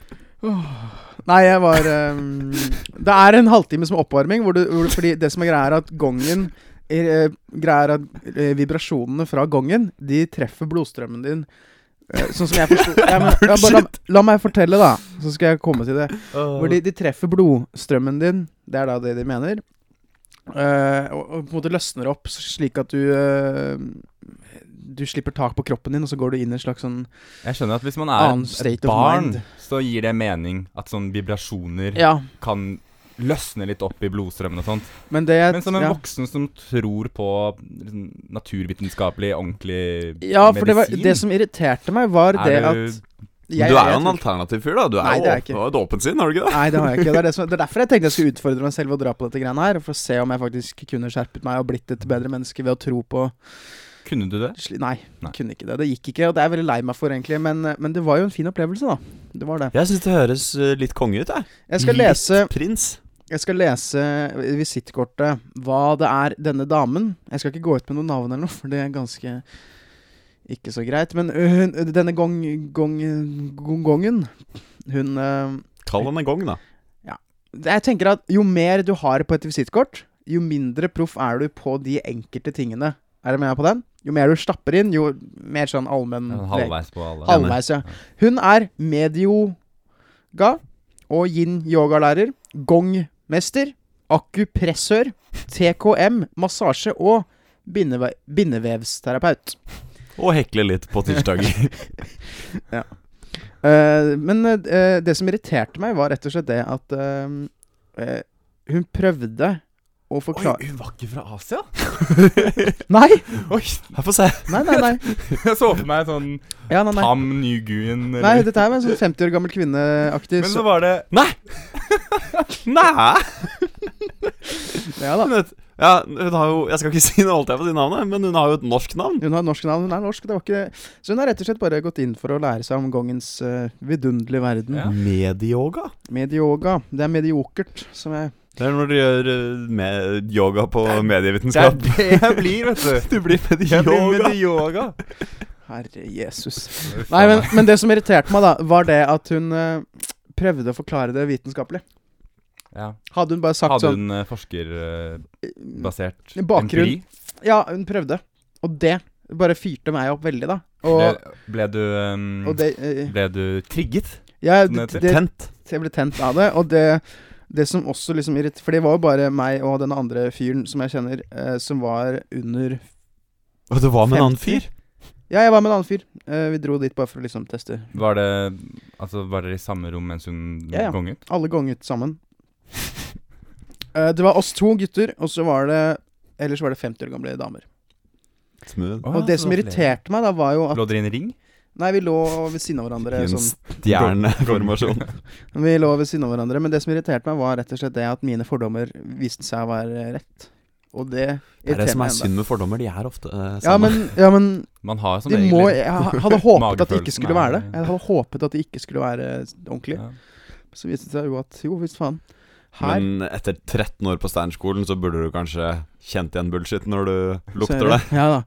Speaker 3: Nei, jeg var ehm, Det er en halvtime som oppvarming, hvor du, hvor, du- fordi det som er greia, er at gongen er, eh, Greia er at eh, vibrasjonene fra gongen, de treffer blodstrømmen din. Eh, Sånn som jeg forsto ja, men, ja, bare la, la meg fortelle, da. Så skal jeg komme til det. Hvor de, de treffer blodstrømmen din. Det er da det de mener. Eh, og, og på en måte løsner opp, s- slik at du eh, Du slipper tak på kroppen din, og så går du inn i en slags sånn
Speaker 1: Jeg skjønner at hvis man er
Speaker 3: annen
Speaker 1: et
Speaker 3: state of
Speaker 1: barn,
Speaker 3: mind.
Speaker 1: så gir det mening at sånne vibrasjoner
Speaker 3: Ja,
Speaker 1: kan løsne litt opp i blodstrømmen og sånt.
Speaker 3: men det
Speaker 1: Men som en
Speaker 3: ja.
Speaker 1: voksen som tror på liksom, naturvitenskapelig, ordentlig
Speaker 3: ja, for det, var,
Speaker 1: medisin,
Speaker 3: det som irriterte meg, var
Speaker 1: er
Speaker 3: det
Speaker 1: du-
Speaker 3: at jeg-
Speaker 4: du er
Speaker 3: jeg
Speaker 4: jo en
Speaker 3: tror-
Speaker 4: alternativ fyr, da. Du er
Speaker 3: Nei,
Speaker 4: jo
Speaker 3: det er
Speaker 4: åp-
Speaker 3: ikke.
Speaker 4: du har et åpent sinn, har du ikke det?
Speaker 3: Nei, det har jeg ikke. Det er, det som, det er derfor jeg tenkte jeg skulle utfordre meg selv og dra på dette greiene her. For å se om jeg faktisk kunne skjerpet meg og blitt et bedre menneske ved å tro på
Speaker 1: Kunne du det?
Speaker 3: sli- Nei,
Speaker 1: Nei.
Speaker 3: kunne ikke det. Det gikk ikke, og det er jeg veldig lei meg for, egentlig. Men, men det var jo en fin opplevelse, da. Det var det.
Speaker 4: Jeg syns det høres eh, litt konge ut, jeg.
Speaker 3: Jeg skal lese,
Speaker 4: Litt prins.
Speaker 3: jeg skal lese visittkortet hva det er denne damen Jeg skal ikke gå ut med noe navn eller noe, for det er ganske ikke så greit. Men øh, hun, denne gong, gong, gong, gongen Hun øh,
Speaker 4: Kall henne gong, da.
Speaker 3: Jeg tenker at jo mer du har på et visittkort, jo mindre proff er du på de enkelte tingene. Er du med på den? Jo mer du stapper inn, jo mer sånn allmenn
Speaker 1: Ja,
Speaker 3: lek.
Speaker 1: Halvveis på alle.
Speaker 3: Halvveis, ja. Hun er medioga og yin-yogalærer, gongmester, akupressør, TKM, massasje og bindeve bindevevsterapeut.
Speaker 4: Og hekle litt på tirsdager.
Speaker 3: Eh, men eh, det som irriterte meg, var rett og slett det at eh, eh, hun prøvde å forklare
Speaker 1: hun var ikke fra Asia?
Speaker 3: Nei!
Speaker 1: Oi,
Speaker 4: Jeg får se.
Speaker 3: Nei, nei, nei.
Speaker 1: jeg så for meg sånn
Speaker 3: Ja, nei, nei.
Speaker 1: tam Nguyen eller
Speaker 3: nei dette er jo en sånn 50 år gammel kvinneaktig
Speaker 1: Men så
Speaker 3: så-
Speaker 1: var det
Speaker 4: Nei!
Speaker 3: Ja da.
Speaker 4: Hun vet- Ja, hun har jo Jeg skal ikke si noe, holdt jeg på å si navnet, men hun har jo et norsk navn.
Speaker 3: Hun har norsk navn, hun er norsk. Det var ikke Så hun har rett og slett bare gått inn for å lære seg om gongens eh, vidunderlige verden.
Speaker 1: Ja.
Speaker 4: Medioga.
Speaker 3: Medioga. Det er mediokert, som jeg
Speaker 4: Det er når du gjør eh, med yoga på
Speaker 1: Det er
Speaker 4: medievitenskap.
Speaker 1: det jeg blir, vet du.
Speaker 4: Du blir
Speaker 1: Jeg blir
Speaker 4: medioga.
Speaker 1: med i yoga.
Speaker 3: Herre Jesus. Nei, men, men det som irriterte meg, da, var det at hun eh, prøvde å forklare det vitenskapelig.
Speaker 1: ja.
Speaker 3: Hadde hun bare sagt
Speaker 1: Hadde hun eh, forskerbasert
Speaker 3: sånn Bakgrunn.
Speaker 1: empiri?
Speaker 3: Ja, hun prøvde. Og det bare fyrte meg opp veldig, da. Og,
Speaker 1: Ble, ble du ehm,
Speaker 3: og det eh,
Speaker 1: Ble du trigget?
Speaker 3: Ja,
Speaker 1: Som det Sånn heter.
Speaker 3: det, det,
Speaker 4: Tent.
Speaker 3: Så jeg ble tent av det. Og det, det som også liksom irriterte For det var jo bare meg og den andre fyren som jeg kjenner, eh, som var under
Speaker 4: Og det var med en annen
Speaker 3: 50.
Speaker 4: fyr.
Speaker 3: Ja, jeg var med en annen fyr. Eh, vi dro dit bare for å liksom teste.
Speaker 1: Var det Altså, var dere i samme rom mens hun
Speaker 3: Ja, ja.
Speaker 1: gonget?
Speaker 3: Alle gong ut sammen. Eh, det var oss to gutter, og så var det Ellers var det 50 år gamle damer.
Speaker 4: Smooth.
Speaker 1: Å,
Speaker 3: Og det
Speaker 1: så
Speaker 3: som
Speaker 1: det var
Speaker 3: irriterte meg, da, var jo at
Speaker 1: Lå dere i en ring?
Speaker 3: Nei, vi lå ved siden av hverandre.
Speaker 4: I en
Speaker 3: Sånn.
Speaker 4: stjerneformasjon.
Speaker 3: Vi lå ved siden av hverandre, men det som irriterte meg, var rett og slett det at mine fordommer viste seg å være rett. Og det
Speaker 4: Det er det
Speaker 3: irriterer
Speaker 4: som
Speaker 3: meg
Speaker 4: er
Speaker 3: ennå.
Speaker 4: synd med fordommer. De er ofte eh,
Speaker 3: Ja,
Speaker 4: samme.
Speaker 3: men, ja, men
Speaker 1: Man har sånn jo som
Speaker 3: de
Speaker 1: regel
Speaker 3: må,
Speaker 1: litt-
Speaker 3: jeg ha- hadde håpet at det ikke
Speaker 1: Magefølelsen
Speaker 3: skulle være det.
Speaker 1: er-
Speaker 3: Jeg hadde håpet at det ikke skulle være eh, ordentlig.
Speaker 1: ja.
Speaker 3: Så viste det seg jo at jo visst faen. Her
Speaker 4: Men etter 13 år på Steinskolen så burde du kanskje kjent igjen bullshit når du
Speaker 3: så er
Speaker 4: lukter det.
Speaker 3: Ja da.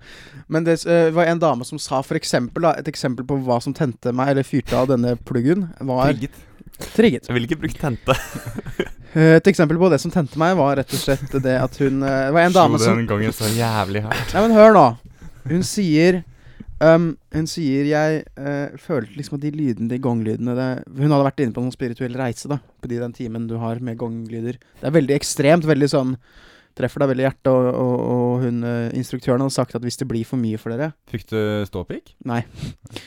Speaker 3: Men det eh, var en dame som sa for eksempel, da, et eksempel på hva som tente meg, eller fyrte av denne pluggen, var
Speaker 1: Trigget.
Speaker 3: trigget.
Speaker 4: Jeg ville ikke brukt tente.
Speaker 3: Eh, Et eksempel på det som tente meg, var rett og slett det at hun eh, Det var en dame
Speaker 1: Slo
Speaker 3: som
Speaker 1: den gangen så jævlig hardt.
Speaker 3: Nei, men hør nå. Hun sier ehm, Hun sier jeg eh, følte liksom at de lydene, de gonglydene det, Hun hadde vært inne på noen spirituell reise, da. På de, den timen du har med gonglyder. Det er veldig ekstremt. Veldig sånn Treffer deg veldig i hjertet, og, og, og hun, eh, instruktøren hadde sagt at hvis det blir for mye for dere
Speaker 1: Fikk du ståpikk?
Speaker 3: Nei.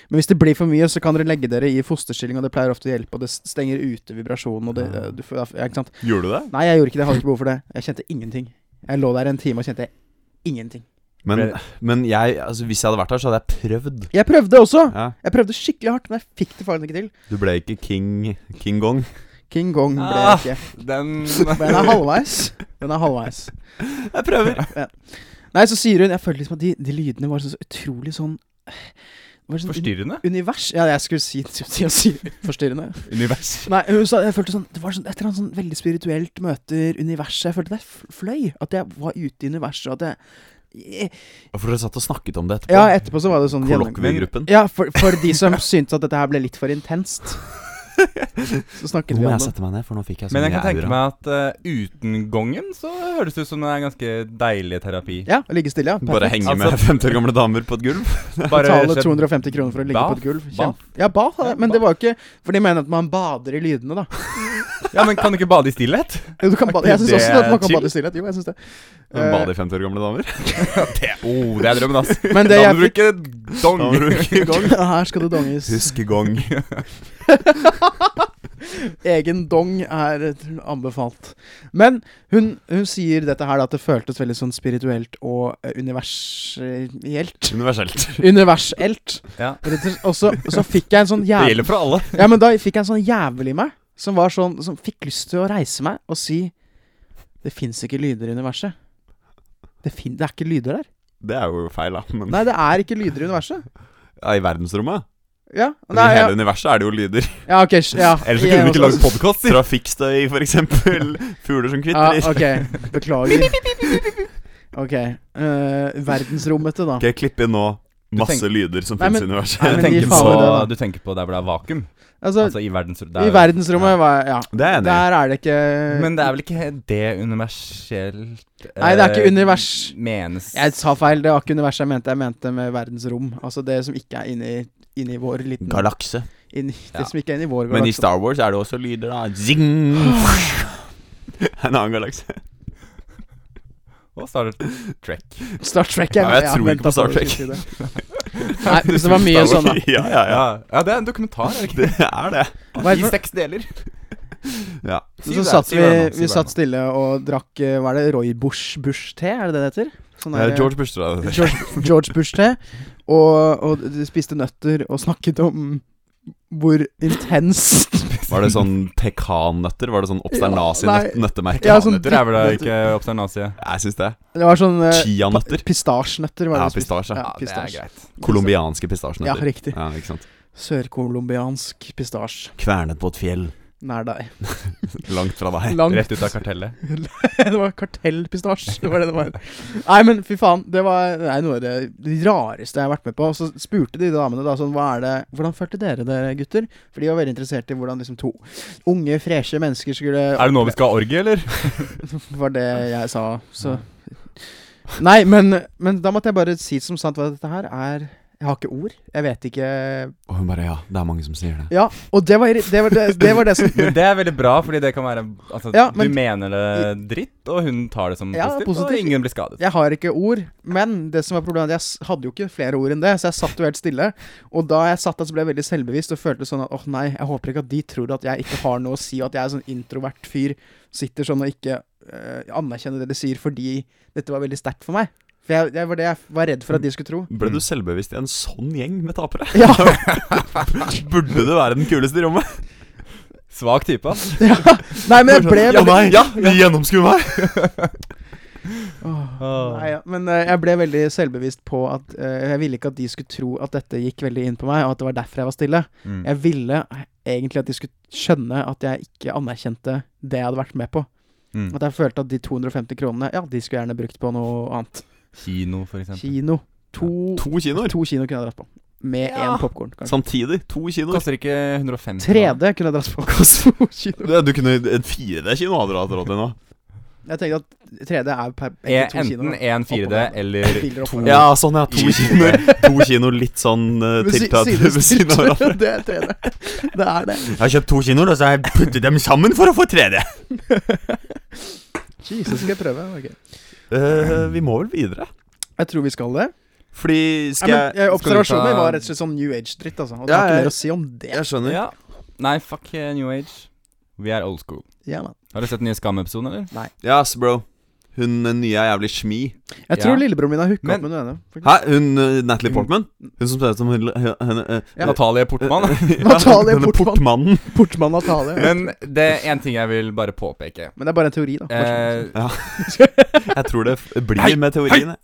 Speaker 3: Men hvis det blir for mye, så kan dere legge dere i fosterstilling, og det pleier ofte å hjelpe, og det stenger ute vibrasjonen, og det eh, du, får- ja, Ikke sant.
Speaker 4: Gjorde du det?
Speaker 3: Nei, jeg gjorde ikke det. Jeg hadde ikke behov for det. Jeg kjente ingenting. Jeg lå der en time og kjente ingenting.
Speaker 4: Men,
Speaker 1: Ble-
Speaker 4: men jeg, altså, hvis jeg hadde vært der, så hadde jeg prøvd.
Speaker 3: Jeg prøvde også!
Speaker 4: Ja,
Speaker 3: Jeg prøvde skikkelig hardt, men jeg fikk det faen ikke til.
Speaker 4: du ble ikke King, King Gong.
Speaker 3: King Gong ble
Speaker 1: Ah.
Speaker 3: jeg ikke.
Speaker 1: Den
Speaker 3: Men den er halvveis. Den er halvveis.
Speaker 4: Jeg prøver.
Speaker 3: Nei, så sier hun Jeg følte liksom at de, de lydene var så, så utrolig sånn det var sånn
Speaker 1: Forstyrrende?
Speaker 3: un- Univers Ja, jeg skulle si, si, si forstyrrende.
Speaker 1: Univers.
Speaker 3: Nei, hun sa Jeg følte sånn Det var sånn, et eller annet sånn veldig spirituelt møter universet. Jeg følte det f- fløy. At jeg var ute i universet, og at jeg
Speaker 4: Hvorfor dere satt og snakket om det etterpå?
Speaker 3: Ja, etterpå så var det sånn gjennom-
Speaker 4: Kollokviegruppen.
Speaker 3: Ja, for, for de som syntes at dette her ble litt for intenst. Så snakket vi
Speaker 4: Nå må
Speaker 3: om
Speaker 4: jeg
Speaker 3: det.
Speaker 4: sette meg ned, for nå fikk jeg så
Speaker 1: Men jeg
Speaker 4: mye
Speaker 1: kan tenke
Speaker 4: aura.
Speaker 1: meg at eh, uten gongen så høres det ut som det er ganske deilig terapi.
Speaker 3: Ja, ligge stille, ja.
Speaker 4: Bare henge med
Speaker 1: Altså-
Speaker 4: 50 år gamle damer på et gulv.
Speaker 1: Bare
Speaker 3: Betale
Speaker 1: slett-
Speaker 3: 250 kroner for å ligge
Speaker 1: Bath?
Speaker 3: på et gulv.
Speaker 1: Bath?
Speaker 3: Kjempe. Ja, bath,
Speaker 1: Ja,
Speaker 3: men det var jo ikke For de mener at man bader i lydene, da.
Speaker 1: Ja, men kan du ikke bade i stillhet?
Speaker 3: Jo, Du kan bade.
Speaker 4: ikke
Speaker 3: Jeg syns også
Speaker 4: det
Speaker 3: at man kan
Speaker 4: chill?
Speaker 3: bade i stillhet. Jo, jeg synes det. Eh,
Speaker 4: Bade i 50 år gamle damer.
Speaker 1: det, oh, det er drømmen, ass.
Speaker 3: men det
Speaker 1: da
Speaker 3: jeg
Speaker 1: må du
Speaker 3: fikk
Speaker 1: bruke dong.
Speaker 4: Da må du bruke dong.
Speaker 3: Her skal det donges.
Speaker 4: Huskegong.
Speaker 3: Egen dong er eh, anbefalt. Men hun, hun sier dette her da, at det føltes veldig sånn spirituelt og eh, universelt.
Speaker 4: Universelt.
Speaker 3: Universelt.
Speaker 1: Ja.
Speaker 3: Rett og slett. Og så, og så fikk jeg en sånn
Speaker 1: Det
Speaker 3: jævlig
Speaker 1: gjelder for alle.
Speaker 3: Ja, men da fikk jeg en sånn jævel i meg som var sånn Som fikk lyst til å reise meg og si Det fins ikke lyder i universet. Det, fin det er ikke lyder der.
Speaker 4: Det er jo feil, da. Men
Speaker 3: Nei, det er ikke lyder i universet.
Speaker 4: ja, i verdensrommet
Speaker 3: Ja,
Speaker 4: Men
Speaker 3: nei,
Speaker 4: I
Speaker 3: ja.
Speaker 4: hele universet er det jo lyder.
Speaker 3: ja ok. s- Ja. altså.
Speaker 1: Ellers så kunne vi ikke lagd podkaster.
Speaker 4: Trafikkstøy, for eksempel. Fugler som kvitrer.
Speaker 3: Ja, ok, beklager. Ok. eh, verdensrommete, da.
Speaker 4: Skal jeg klippe inn nå masse
Speaker 1: tenk-
Speaker 4: lyder som
Speaker 3: Nei,
Speaker 4: finnes i
Speaker 3: men-
Speaker 4: universet?
Speaker 3: Nei,
Speaker 1: Du
Speaker 3: men
Speaker 1: tenker,
Speaker 3: gi faen
Speaker 1: på,
Speaker 3: i det, da.
Speaker 1: du tenker på der hvor det er vakuum?
Speaker 3: Altså,
Speaker 1: Altså i verdensrommet?
Speaker 3: i verdensrommet var Ja.
Speaker 4: Det er jeg enig i.
Speaker 3: Der er det ikke
Speaker 1: Men det er vel ikke det universelt
Speaker 3: Nei, det er ikke
Speaker 1: eh,
Speaker 3: univers.
Speaker 1: Menes
Speaker 3: Jeg sa feil. Det var ikke universet jeg mente. Jeg mente med verdensrom. Altså det som ikke er inni, inni vår liten
Speaker 4: Galakse.
Speaker 3: inni,
Speaker 1: Ja.
Speaker 3: Det som ikke er inni vår
Speaker 4: Men i
Speaker 3: galakse.
Speaker 4: Star Wars er det også lyder, da. Zing!
Speaker 3: Mm.
Speaker 4: En annen galakse.
Speaker 1: Og Star Trek.
Speaker 3: Star Trek
Speaker 4: Ja, jeg tror ikke
Speaker 3: venta
Speaker 4: på
Speaker 3: at
Speaker 4: Star
Speaker 3: du
Speaker 4: Trek.
Speaker 3: skulle si det. Nei, så det var mye
Speaker 4: Star
Speaker 3: sånn,
Speaker 4: Wars.
Speaker 3: da.
Speaker 4: Ja, ja, ja.
Speaker 1: Ja. ja, det er en dokumentar, er det ikke?
Speaker 4: Det er det.
Speaker 3: Hva er det
Speaker 1: I
Speaker 3: for-
Speaker 1: seks deler.
Speaker 4: Ja.
Speaker 1: Si
Speaker 3: Så
Speaker 1: det,
Speaker 3: satt
Speaker 1: si
Speaker 3: vi,
Speaker 1: det nå, si
Speaker 3: vi
Speaker 1: det
Speaker 3: satt
Speaker 1: nå.
Speaker 3: stille og drakk eh, Hva er det? Roy Bush-te? Er det det det heter? Sånn
Speaker 4: Eh,
Speaker 3: der-
Speaker 4: George Bush, tror jeg.
Speaker 3: George, George Bush-te. Og, og de spiste nøtter og snakket om hvor intenst
Speaker 4: Var det sånn pekannøtter? Var det sånn
Speaker 3: Ja, nei.
Speaker 4: obsternasi-nøttemerke?
Speaker 3: Ja, sånn-
Speaker 1: Nøtter er vel da ikke obsternasie?
Speaker 4: Jeg syns det.
Speaker 3: Det var sånn eh,
Speaker 4: Chianøtter.
Speaker 3: pistasjenøtter. Var det
Speaker 4: Ja,
Speaker 3: de spiste.
Speaker 4: pistasje.
Speaker 3: Ja,
Speaker 1: det er
Speaker 3: pistasje.
Speaker 1: greit.
Speaker 4: Colombianske
Speaker 3: Ja,
Speaker 4: pistasjenøtter.
Speaker 3: riktig.
Speaker 4: Ja, ikke sant.
Speaker 3: Sørkolombiansk pistasje
Speaker 4: Kvernet på et fjell
Speaker 3: nær deg.
Speaker 4: langt fra deg.
Speaker 3: Langt
Speaker 1: Rett ut av kartellet.
Speaker 3: Det var kartellpistasje, det var det det var. Nei, men fy faen. Det var det er noe av det det rareste jeg har vært med på. Og så spurte de damene da sånn hva er det, Hvordan følte dere dere, gutter? For de var veldig interessert i hvordan liksom to unge, freshe mennesker skulle
Speaker 1: Er det nå vi skal ha orgie, eller?
Speaker 3: var det jeg sa, så Nei, men, men da måtte jeg bare si som sant hva dette her er Jeg har ikke ord. Jeg vet ikke
Speaker 4: Og hun bare Ja, det er mange som sier det.
Speaker 3: Ja, og det var irri- det, var det, det, var det som
Speaker 1: Men det er veldig bra, fordi det kan være Altså,
Speaker 3: Ja, men-
Speaker 1: du mener det dritt, og hun tar det som
Speaker 3: Ja,
Speaker 1: positivt,
Speaker 3: positivt.
Speaker 1: og ingen blir skadet.
Speaker 3: Jeg har ikke ord, men det som var problemet, jeg s- hadde jo ikke flere ord enn det, så jeg satt jo helt stille. Og da jeg satt der, så ble jeg veldig selvbevisst og følte sånn at åh nei, jeg håper ikke at de tror at jeg ikke har noe å si, og at jeg er sånn introvert fyr, sitter sånn og ikke eh, anerkjenner det de sier fordi dette var veldig sterkt for meg. For jeg, jeg var det jeg var redd for at de skulle tro.
Speaker 4: Ble du selvbevisst i en sånn gjeng med tapere?
Speaker 3: Ja.
Speaker 4: Burde du være den kuleste i rommet?
Speaker 1: Svak type, ass.
Speaker 3: Nei, men jeg ble
Speaker 4: Ja,
Speaker 3: veldig
Speaker 4: nei! Ja, gjennomskue meg!
Speaker 3: Åh,
Speaker 1: Åh.
Speaker 3: Nei, ja. Men eh, jeg ble veldig selvbevisst på at eh, jeg ville ikke at de skulle tro at dette gikk veldig inn på meg, og at det var derfor jeg var stille.
Speaker 1: Mm.
Speaker 3: Jeg ville egentlig at de skulle skjønne at jeg ikke anerkjente det jeg hadde vært med på.
Speaker 1: Mm.
Speaker 3: At jeg følte at de 250 kronene, ja, de skulle jeg gjerne brukt på noe annet.
Speaker 1: Kino, for eksempel.
Speaker 3: Kino. To,
Speaker 4: To kinoer.
Speaker 3: to kino kunne jeg dratt på. Med én
Speaker 4: Ja.
Speaker 3: popkorn, kanskje.
Speaker 4: Samtidig. To kinoer.
Speaker 1: Koster ikke 150 kroner.
Speaker 3: 3D kunne jeg dratt på. To kino.
Speaker 4: Ja, Du kunne En 4D-kino hadde du hatt råd til nå.
Speaker 3: Jeg tenkte at 3D er per
Speaker 1: Eh,
Speaker 3: egentlig to
Speaker 1: Enten
Speaker 3: kinoer.
Speaker 1: en 4D
Speaker 3: Oppover.
Speaker 1: eller
Speaker 3: Bilder
Speaker 1: to
Speaker 3: oppover.
Speaker 4: Ja, sånn, ja. To
Speaker 1: i-
Speaker 4: kinoer. To kino litt sånn uh,
Speaker 3: Men si-
Speaker 4: tiltatt ved siden av hverandre.
Speaker 3: sidestilt. Det er 3D. Det er det.
Speaker 4: Jeg har kjøpt to kinoer, og så har jeg puttet dem sammen for å få 3D.
Speaker 3: Jesus, skal jeg prøve? Ok.
Speaker 4: Eh, vi må vel videre?
Speaker 3: Jeg tror vi skal det.
Speaker 4: Fordi skal
Speaker 3: Nei,
Speaker 4: jeg
Speaker 3: men, eh, observasjonen
Speaker 1: ta-
Speaker 3: min var rett og slett sånn New Age-dritt, altså. Og det
Speaker 4: Ja,
Speaker 3: har
Speaker 4: jeg-
Speaker 3: ikke mer å si om det.
Speaker 4: Jeg skjønner.
Speaker 1: Ja. Nei, fuck eh, New Age. Vi er old school.
Speaker 3: Ja, man.
Speaker 1: Har du sett den nye Skam-episoden, eller?
Speaker 4: Ja, ass, bro. Hun eh, nye er jævlig smi.
Speaker 3: Jeg tror
Speaker 1: Ja.
Speaker 3: lillebroren min har hooka
Speaker 1: Men-
Speaker 3: opp med noen ene. faktisk.
Speaker 4: Hæ? Hun eh, Natalie Portman? Hun som ser ut som hun, henne eh,
Speaker 3: Ja.
Speaker 1: Natalie Portmann.
Speaker 4: ja,
Speaker 3: Natalie
Speaker 4: denne
Speaker 3: Portman.
Speaker 4: Portmannen.
Speaker 3: Portmann Natalie. Men,
Speaker 1: Men det er én ting jeg vil bare påpeke.
Speaker 3: det er bare en teori, da.
Speaker 1: Eh,
Speaker 4: Jeg tror det f- blir
Speaker 1: Hei,
Speaker 4: med teoriene.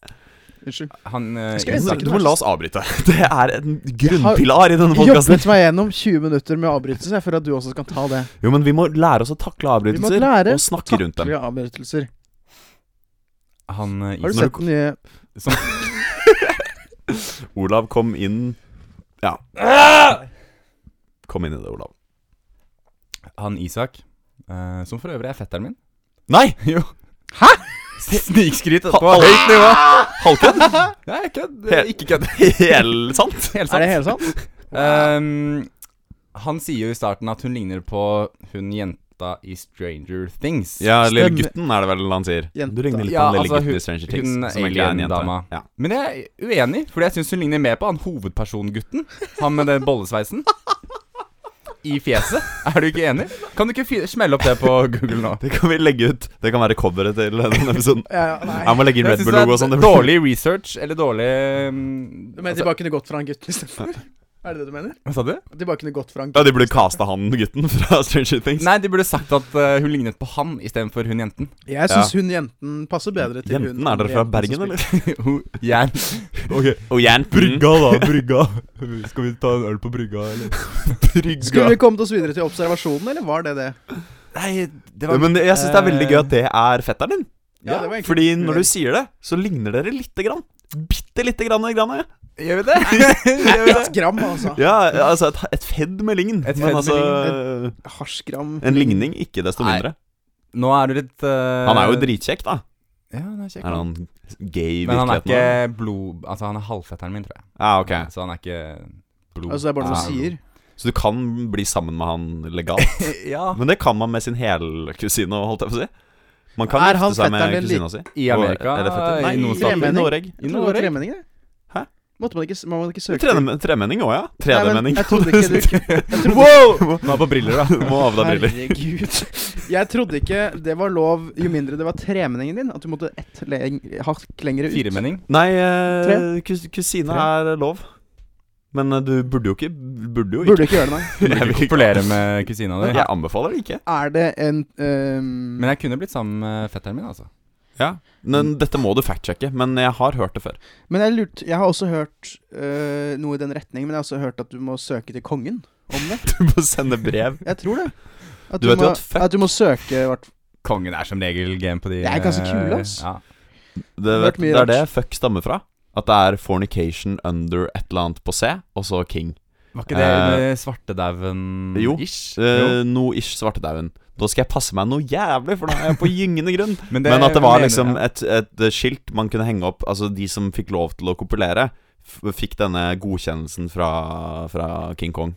Speaker 3: Unnskyld.
Speaker 1: han eh,
Speaker 3: Skal jeg
Speaker 4: Du,
Speaker 3: snakke
Speaker 4: du må la oss avbryte. Det er en
Speaker 3: har-
Speaker 4: grunnpilar i denne podkasten.
Speaker 3: Jobbet meg gjennom 20 minutter med avbrytelse for at du også skal ta det.
Speaker 4: Jo, men vi må lære oss å takle
Speaker 3: Vi må
Speaker 4: avbrytelser
Speaker 3: lære
Speaker 4: og snakke rundt dem.
Speaker 3: takkelige avbrytelser.
Speaker 1: Han eh,
Speaker 3: Har du
Speaker 1: Isak-
Speaker 3: sett den nye
Speaker 4: Olav, kom inn Ja. Kom inn i det, Olav.
Speaker 1: han Isak, eh, som for øvrig er fetteren min
Speaker 4: Nei!
Speaker 1: Jo.
Speaker 3: Hæ?
Speaker 1: Snikskryt
Speaker 4: På
Speaker 1: etterpå.
Speaker 4: høyt nivå! Halvkødd?
Speaker 1: Nei, kødd.
Speaker 3: Eh,
Speaker 1: Det er
Speaker 4: Helt-
Speaker 1: Ikke kødd.
Speaker 4: Helt sant?
Speaker 1: Helt sant.
Speaker 3: Er det helt sant?
Speaker 1: Ehm, han sier jo i starten at hun ligner på hun jenta i Stranger Things.
Speaker 4: Ja, lille
Speaker 3: Stemmer.
Speaker 4: gutten er det vel han sier.
Speaker 3: Jenta.
Speaker 4: Du ligner litt
Speaker 1: Ja,
Speaker 4: på den lille
Speaker 1: altså,
Speaker 4: gutten
Speaker 1: hun-
Speaker 4: i Stranger Things.
Speaker 1: hun
Speaker 4: som egentlig er en jente.
Speaker 1: alien-dama.
Speaker 4: Ja.
Speaker 1: Men jeg er uenig, fordi jeg syns hun ligner mer på han hovedpersongutten. Han med den bollesveisen. I fjeset. Er du ikke enig? Kan du ikke fi- smelle opp det på Google nå?
Speaker 4: Det kan vi legge ut. Det kan være coveret til denne episoden.
Speaker 3: Ja, ja, nei.
Speaker 4: Jeg må legge inn
Speaker 1: Jeg
Speaker 4: Red
Speaker 1: synes
Speaker 4: Bull-logo og
Speaker 1: det
Speaker 4: sånn.
Speaker 1: er
Speaker 4: det blir-
Speaker 1: dårlig research, eller dårlig mm,
Speaker 3: Du mener de
Speaker 1: altså,
Speaker 3: bare kunne gått fra han gutten istedenfor? Er det det du mener?
Speaker 1: Hva sa du?
Speaker 3: At de bare kunne gått fra han
Speaker 4: Ja,
Speaker 3: gutten?
Speaker 4: de burde kasta han gutten fra Stranger Things.
Speaker 1: Nei, de burde sagt at eh, hun lignet på han istedenfor hun jenten.
Speaker 3: Jeg syns hun jenten passer bedre til hun
Speaker 4: Jenten, er dere
Speaker 3: jenten
Speaker 4: fra
Speaker 3: som
Speaker 4: Bergen,
Speaker 3: spiller.
Speaker 4: eller?
Speaker 1: Hun jern. Mm.
Speaker 4: Ok, Og jenten.
Speaker 1: da, brygga. Skal vi ta en øl på brygga, eller?
Speaker 3: Skulle vi kommet oss videre til observasjonen, eller var det det?
Speaker 1: Nei, det
Speaker 4: Ja,
Speaker 1: var
Speaker 4: Men jeg syns det er veldig gøy at det er fetteren din.
Speaker 3: Ja, det var egentlig
Speaker 4: Fordi når du sier det, så ligner dere lite grann. Bitte lite grann. grann
Speaker 1: Gjør vi det? Gjør vi det?
Speaker 3: Et gram, altså.
Speaker 4: ja, ja, altså et, et fedd med lign.
Speaker 1: Et fedd med
Speaker 4: men altså
Speaker 3: Hasjgram.
Speaker 4: En ligning, ikke desto
Speaker 1: Nei.
Speaker 4: mindre.
Speaker 1: Nå er du litt eh,
Speaker 4: Han er jo dritkjekk, da.
Speaker 1: Ja, han er kjekk.
Speaker 4: Er han gay i
Speaker 1: Men han er
Speaker 4: virkeligheten? da?
Speaker 1: ikke blod... Altså, han er halvfetteren min, tror jeg.
Speaker 4: Ja, ok
Speaker 1: Så han er ikke blod...
Speaker 3: Altså, det er bare noe
Speaker 1: Ah.
Speaker 3: du sier.
Speaker 4: Så du kan bli sammen med han legalt.
Speaker 1: ja,
Speaker 4: Men det kan man med sin helkusine, holdt jeg på å si. Man kan
Speaker 3: Er han
Speaker 4: gifte seg med
Speaker 3: fetteren din
Speaker 4: kusina si.
Speaker 1: i Amerika.
Speaker 4: Er det fetter?
Speaker 1: I noen stater.
Speaker 3: tremenning.
Speaker 4: I Noreg.
Speaker 1: I
Speaker 3: Jeg trodde det var
Speaker 1: Norge.
Speaker 3: tremenning, det.
Speaker 4: Hæ?
Speaker 3: Måtte man ikke, må man ikke søke
Speaker 4: Trene- Tremenning òg, ja. 3D-menning.
Speaker 3: Jeg trodde ikke du
Speaker 4: Wow!
Speaker 1: Nå er på briller, da.
Speaker 4: Må av deg briller.
Speaker 3: Herregud. Jeg trodde ikke det var lov, jo mindre det var tremenningen din, at du måtte ett leng hakk lengre ut.
Speaker 1: Firemenning.
Speaker 4: Nei, eh,
Speaker 3: Tre.
Speaker 4: kus kusine
Speaker 1: Tre.
Speaker 4: er lov. Men eh, du burde jo ikke Burde jo ikke.
Speaker 3: Burde ikke gjøre det, nei.
Speaker 1: Burde ikke
Speaker 4: Jeg vil
Speaker 1: kopulere med kusina di.
Speaker 4: Jeg anbefaler det ikke.
Speaker 3: Er det en ehm,
Speaker 1: Men jeg kunne blitt sammen med fetteren min, altså. Mm.
Speaker 4: Men dette må du fact-sjekke, men jeg har hørt det før.
Speaker 3: Men jeg, lurt, jeg har også hørt øh, noe i den retningen, men jeg har også hørt at du må søke til kongen om det.
Speaker 4: Du må sende brev.
Speaker 3: Jeg tror det. At
Speaker 4: Du vet jo
Speaker 3: må,
Speaker 4: at fuck-
Speaker 3: du må søke hvert
Speaker 1: Kongen er som regel game på de
Speaker 3: Det er ganske kul,
Speaker 1: eh,
Speaker 3: ass.
Speaker 1: Ja.
Speaker 4: Det,
Speaker 3: Hørt
Speaker 4: det
Speaker 3: mye
Speaker 4: er
Speaker 3: rart.
Speaker 4: det fuck stammer fra. At det er fornication under et eller annet på C, og så king.
Speaker 1: Var ikke det
Speaker 4: Eh,
Speaker 1: med svartedauden
Speaker 4: jo.
Speaker 1: Ish?
Speaker 4: Eh, noe ish svartedauen. Da skal jeg passe meg noe jævlig, for da er jeg på gyngende grunn.
Speaker 1: Men,
Speaker 4: Men at det var
Speaker 1: mener-
Speaker 4: liksom
Speaker 1: ja.
Speaker 4: et, et skilt man kunne henge opp Altså, de som fikk lov til å kopulere, f- fikk denne godkjennelsen fra, fra King Kong.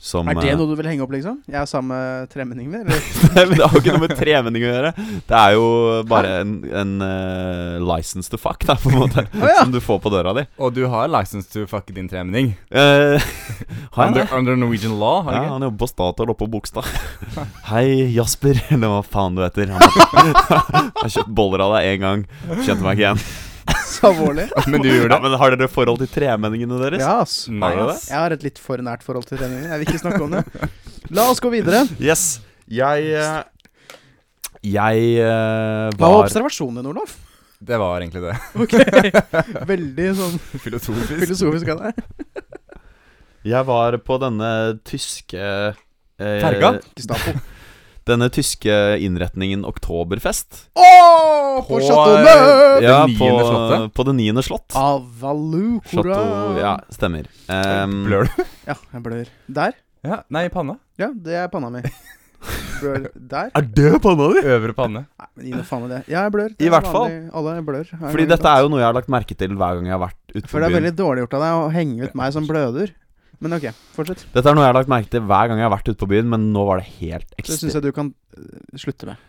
Speaker 4: Som
Speaker 3: Er det
Speaker 4: eh,
Speaker 3: noe du vil henge opp, liksom? Jeg er sammen med tremenningen min, eller?
Speaker 4: Nei, men det har jo ikke noe med tremenning å gjøre. Det er jo bare en, en eh, license to fuck, da, på en måte.
Speaker 3: ja.
Speaker 4: Som du får på døra di.
Speaker 1: Og du har license to fuck din tremenning.
Speaker 4: Eh, har jeg det?
Speaker 1: Under, under Norwegian law, har du
Speaker 4: Ja,
Speaker 1: ikke?
Speaker 4: han jobber på Statoil oppe på Bogstad. Hei, Jasper, eller hva faen du heter. Han har kjøpt boller av deg én gang. Kjente meg ikke igjen.
Speaker 3: Så alvorlig.
Speaker 1: Men du gjorde
Speaker 4: Ja,
Speaker 1: det?
Speaker 4: men Har dere forhold til tremenningene deres?
Speaker 3: Ja, ass.
Speaker 1: Nei,
Speaker 4: Har du
Speaker 1: ass.
Speaker 3: Jeg har et litt for nært forhold til tremenningen. Jeg vil ikke snakke om det. La oss gå videre.
Speaker 4: Yes. Jeg eh, Jeg eh,
Speaker 3: Hva var
Speaker 4: var
Speaker 3: observasjonen din, Olof?
Speaker 1: Det var egentlig det.
Speaker 3: Ok. Veldig sånn
Speaker 1: Filosofisk.
Speaker 3: filosofisk av deg.
Speaker 4: Jeg var på denne tyske eh,
Speaker 1: Ferga?
Speaker 3: Gestapo.
Speaker 4: Denne tyske innretningen Oktoberfest.
Speaker 3: Åh, på
Speaker 1: På,
Speaker 3: Chateau
Speaker 1: eh,
Speaker 3: Neuf!
Speaker 1: Det niende slottet?
Speaker 4: På det niende slott.
Speaker 3: Ah, Avalu,
Speaker 4: Chateau Ja, stemmer. Ehm,
Speaker 1: Blør du?
Speaker 3: Ja, jeg blør. Der.
Speaker 1: Ja, nei, i panna.
Speaker 3: Ja, det er panna mi. Blør der?
Speaker 4: Er det panna di?!
Speaker 1: Øvre panne.
Speaker 3: Nei, men gi nå faen i det. Ja, jeg blør. Det
Speaker 4: I
Speaker 3: er
Speaker 4: hvert fall.
Speaker 3: vanlig. Alle blør.
Speaker 4: Fordi dette er jo noe jeg har lagt merke til hver gang jeg har vært ute på
Speaker 3: For det er
Speaker 4: byen.
Speaker 3: veldig dårlig gjort av deg å henge ut meg som bløder. Men ok, fortsett.
Speaker 4: Dette er noe jeg har lagt merke til hver gang jeg har vært ute på byen, men nå var det helt
Speaker 3: Det syns
Speaker 4: ekstremt.
Speaker 3: jeg du kan øh, slutte med.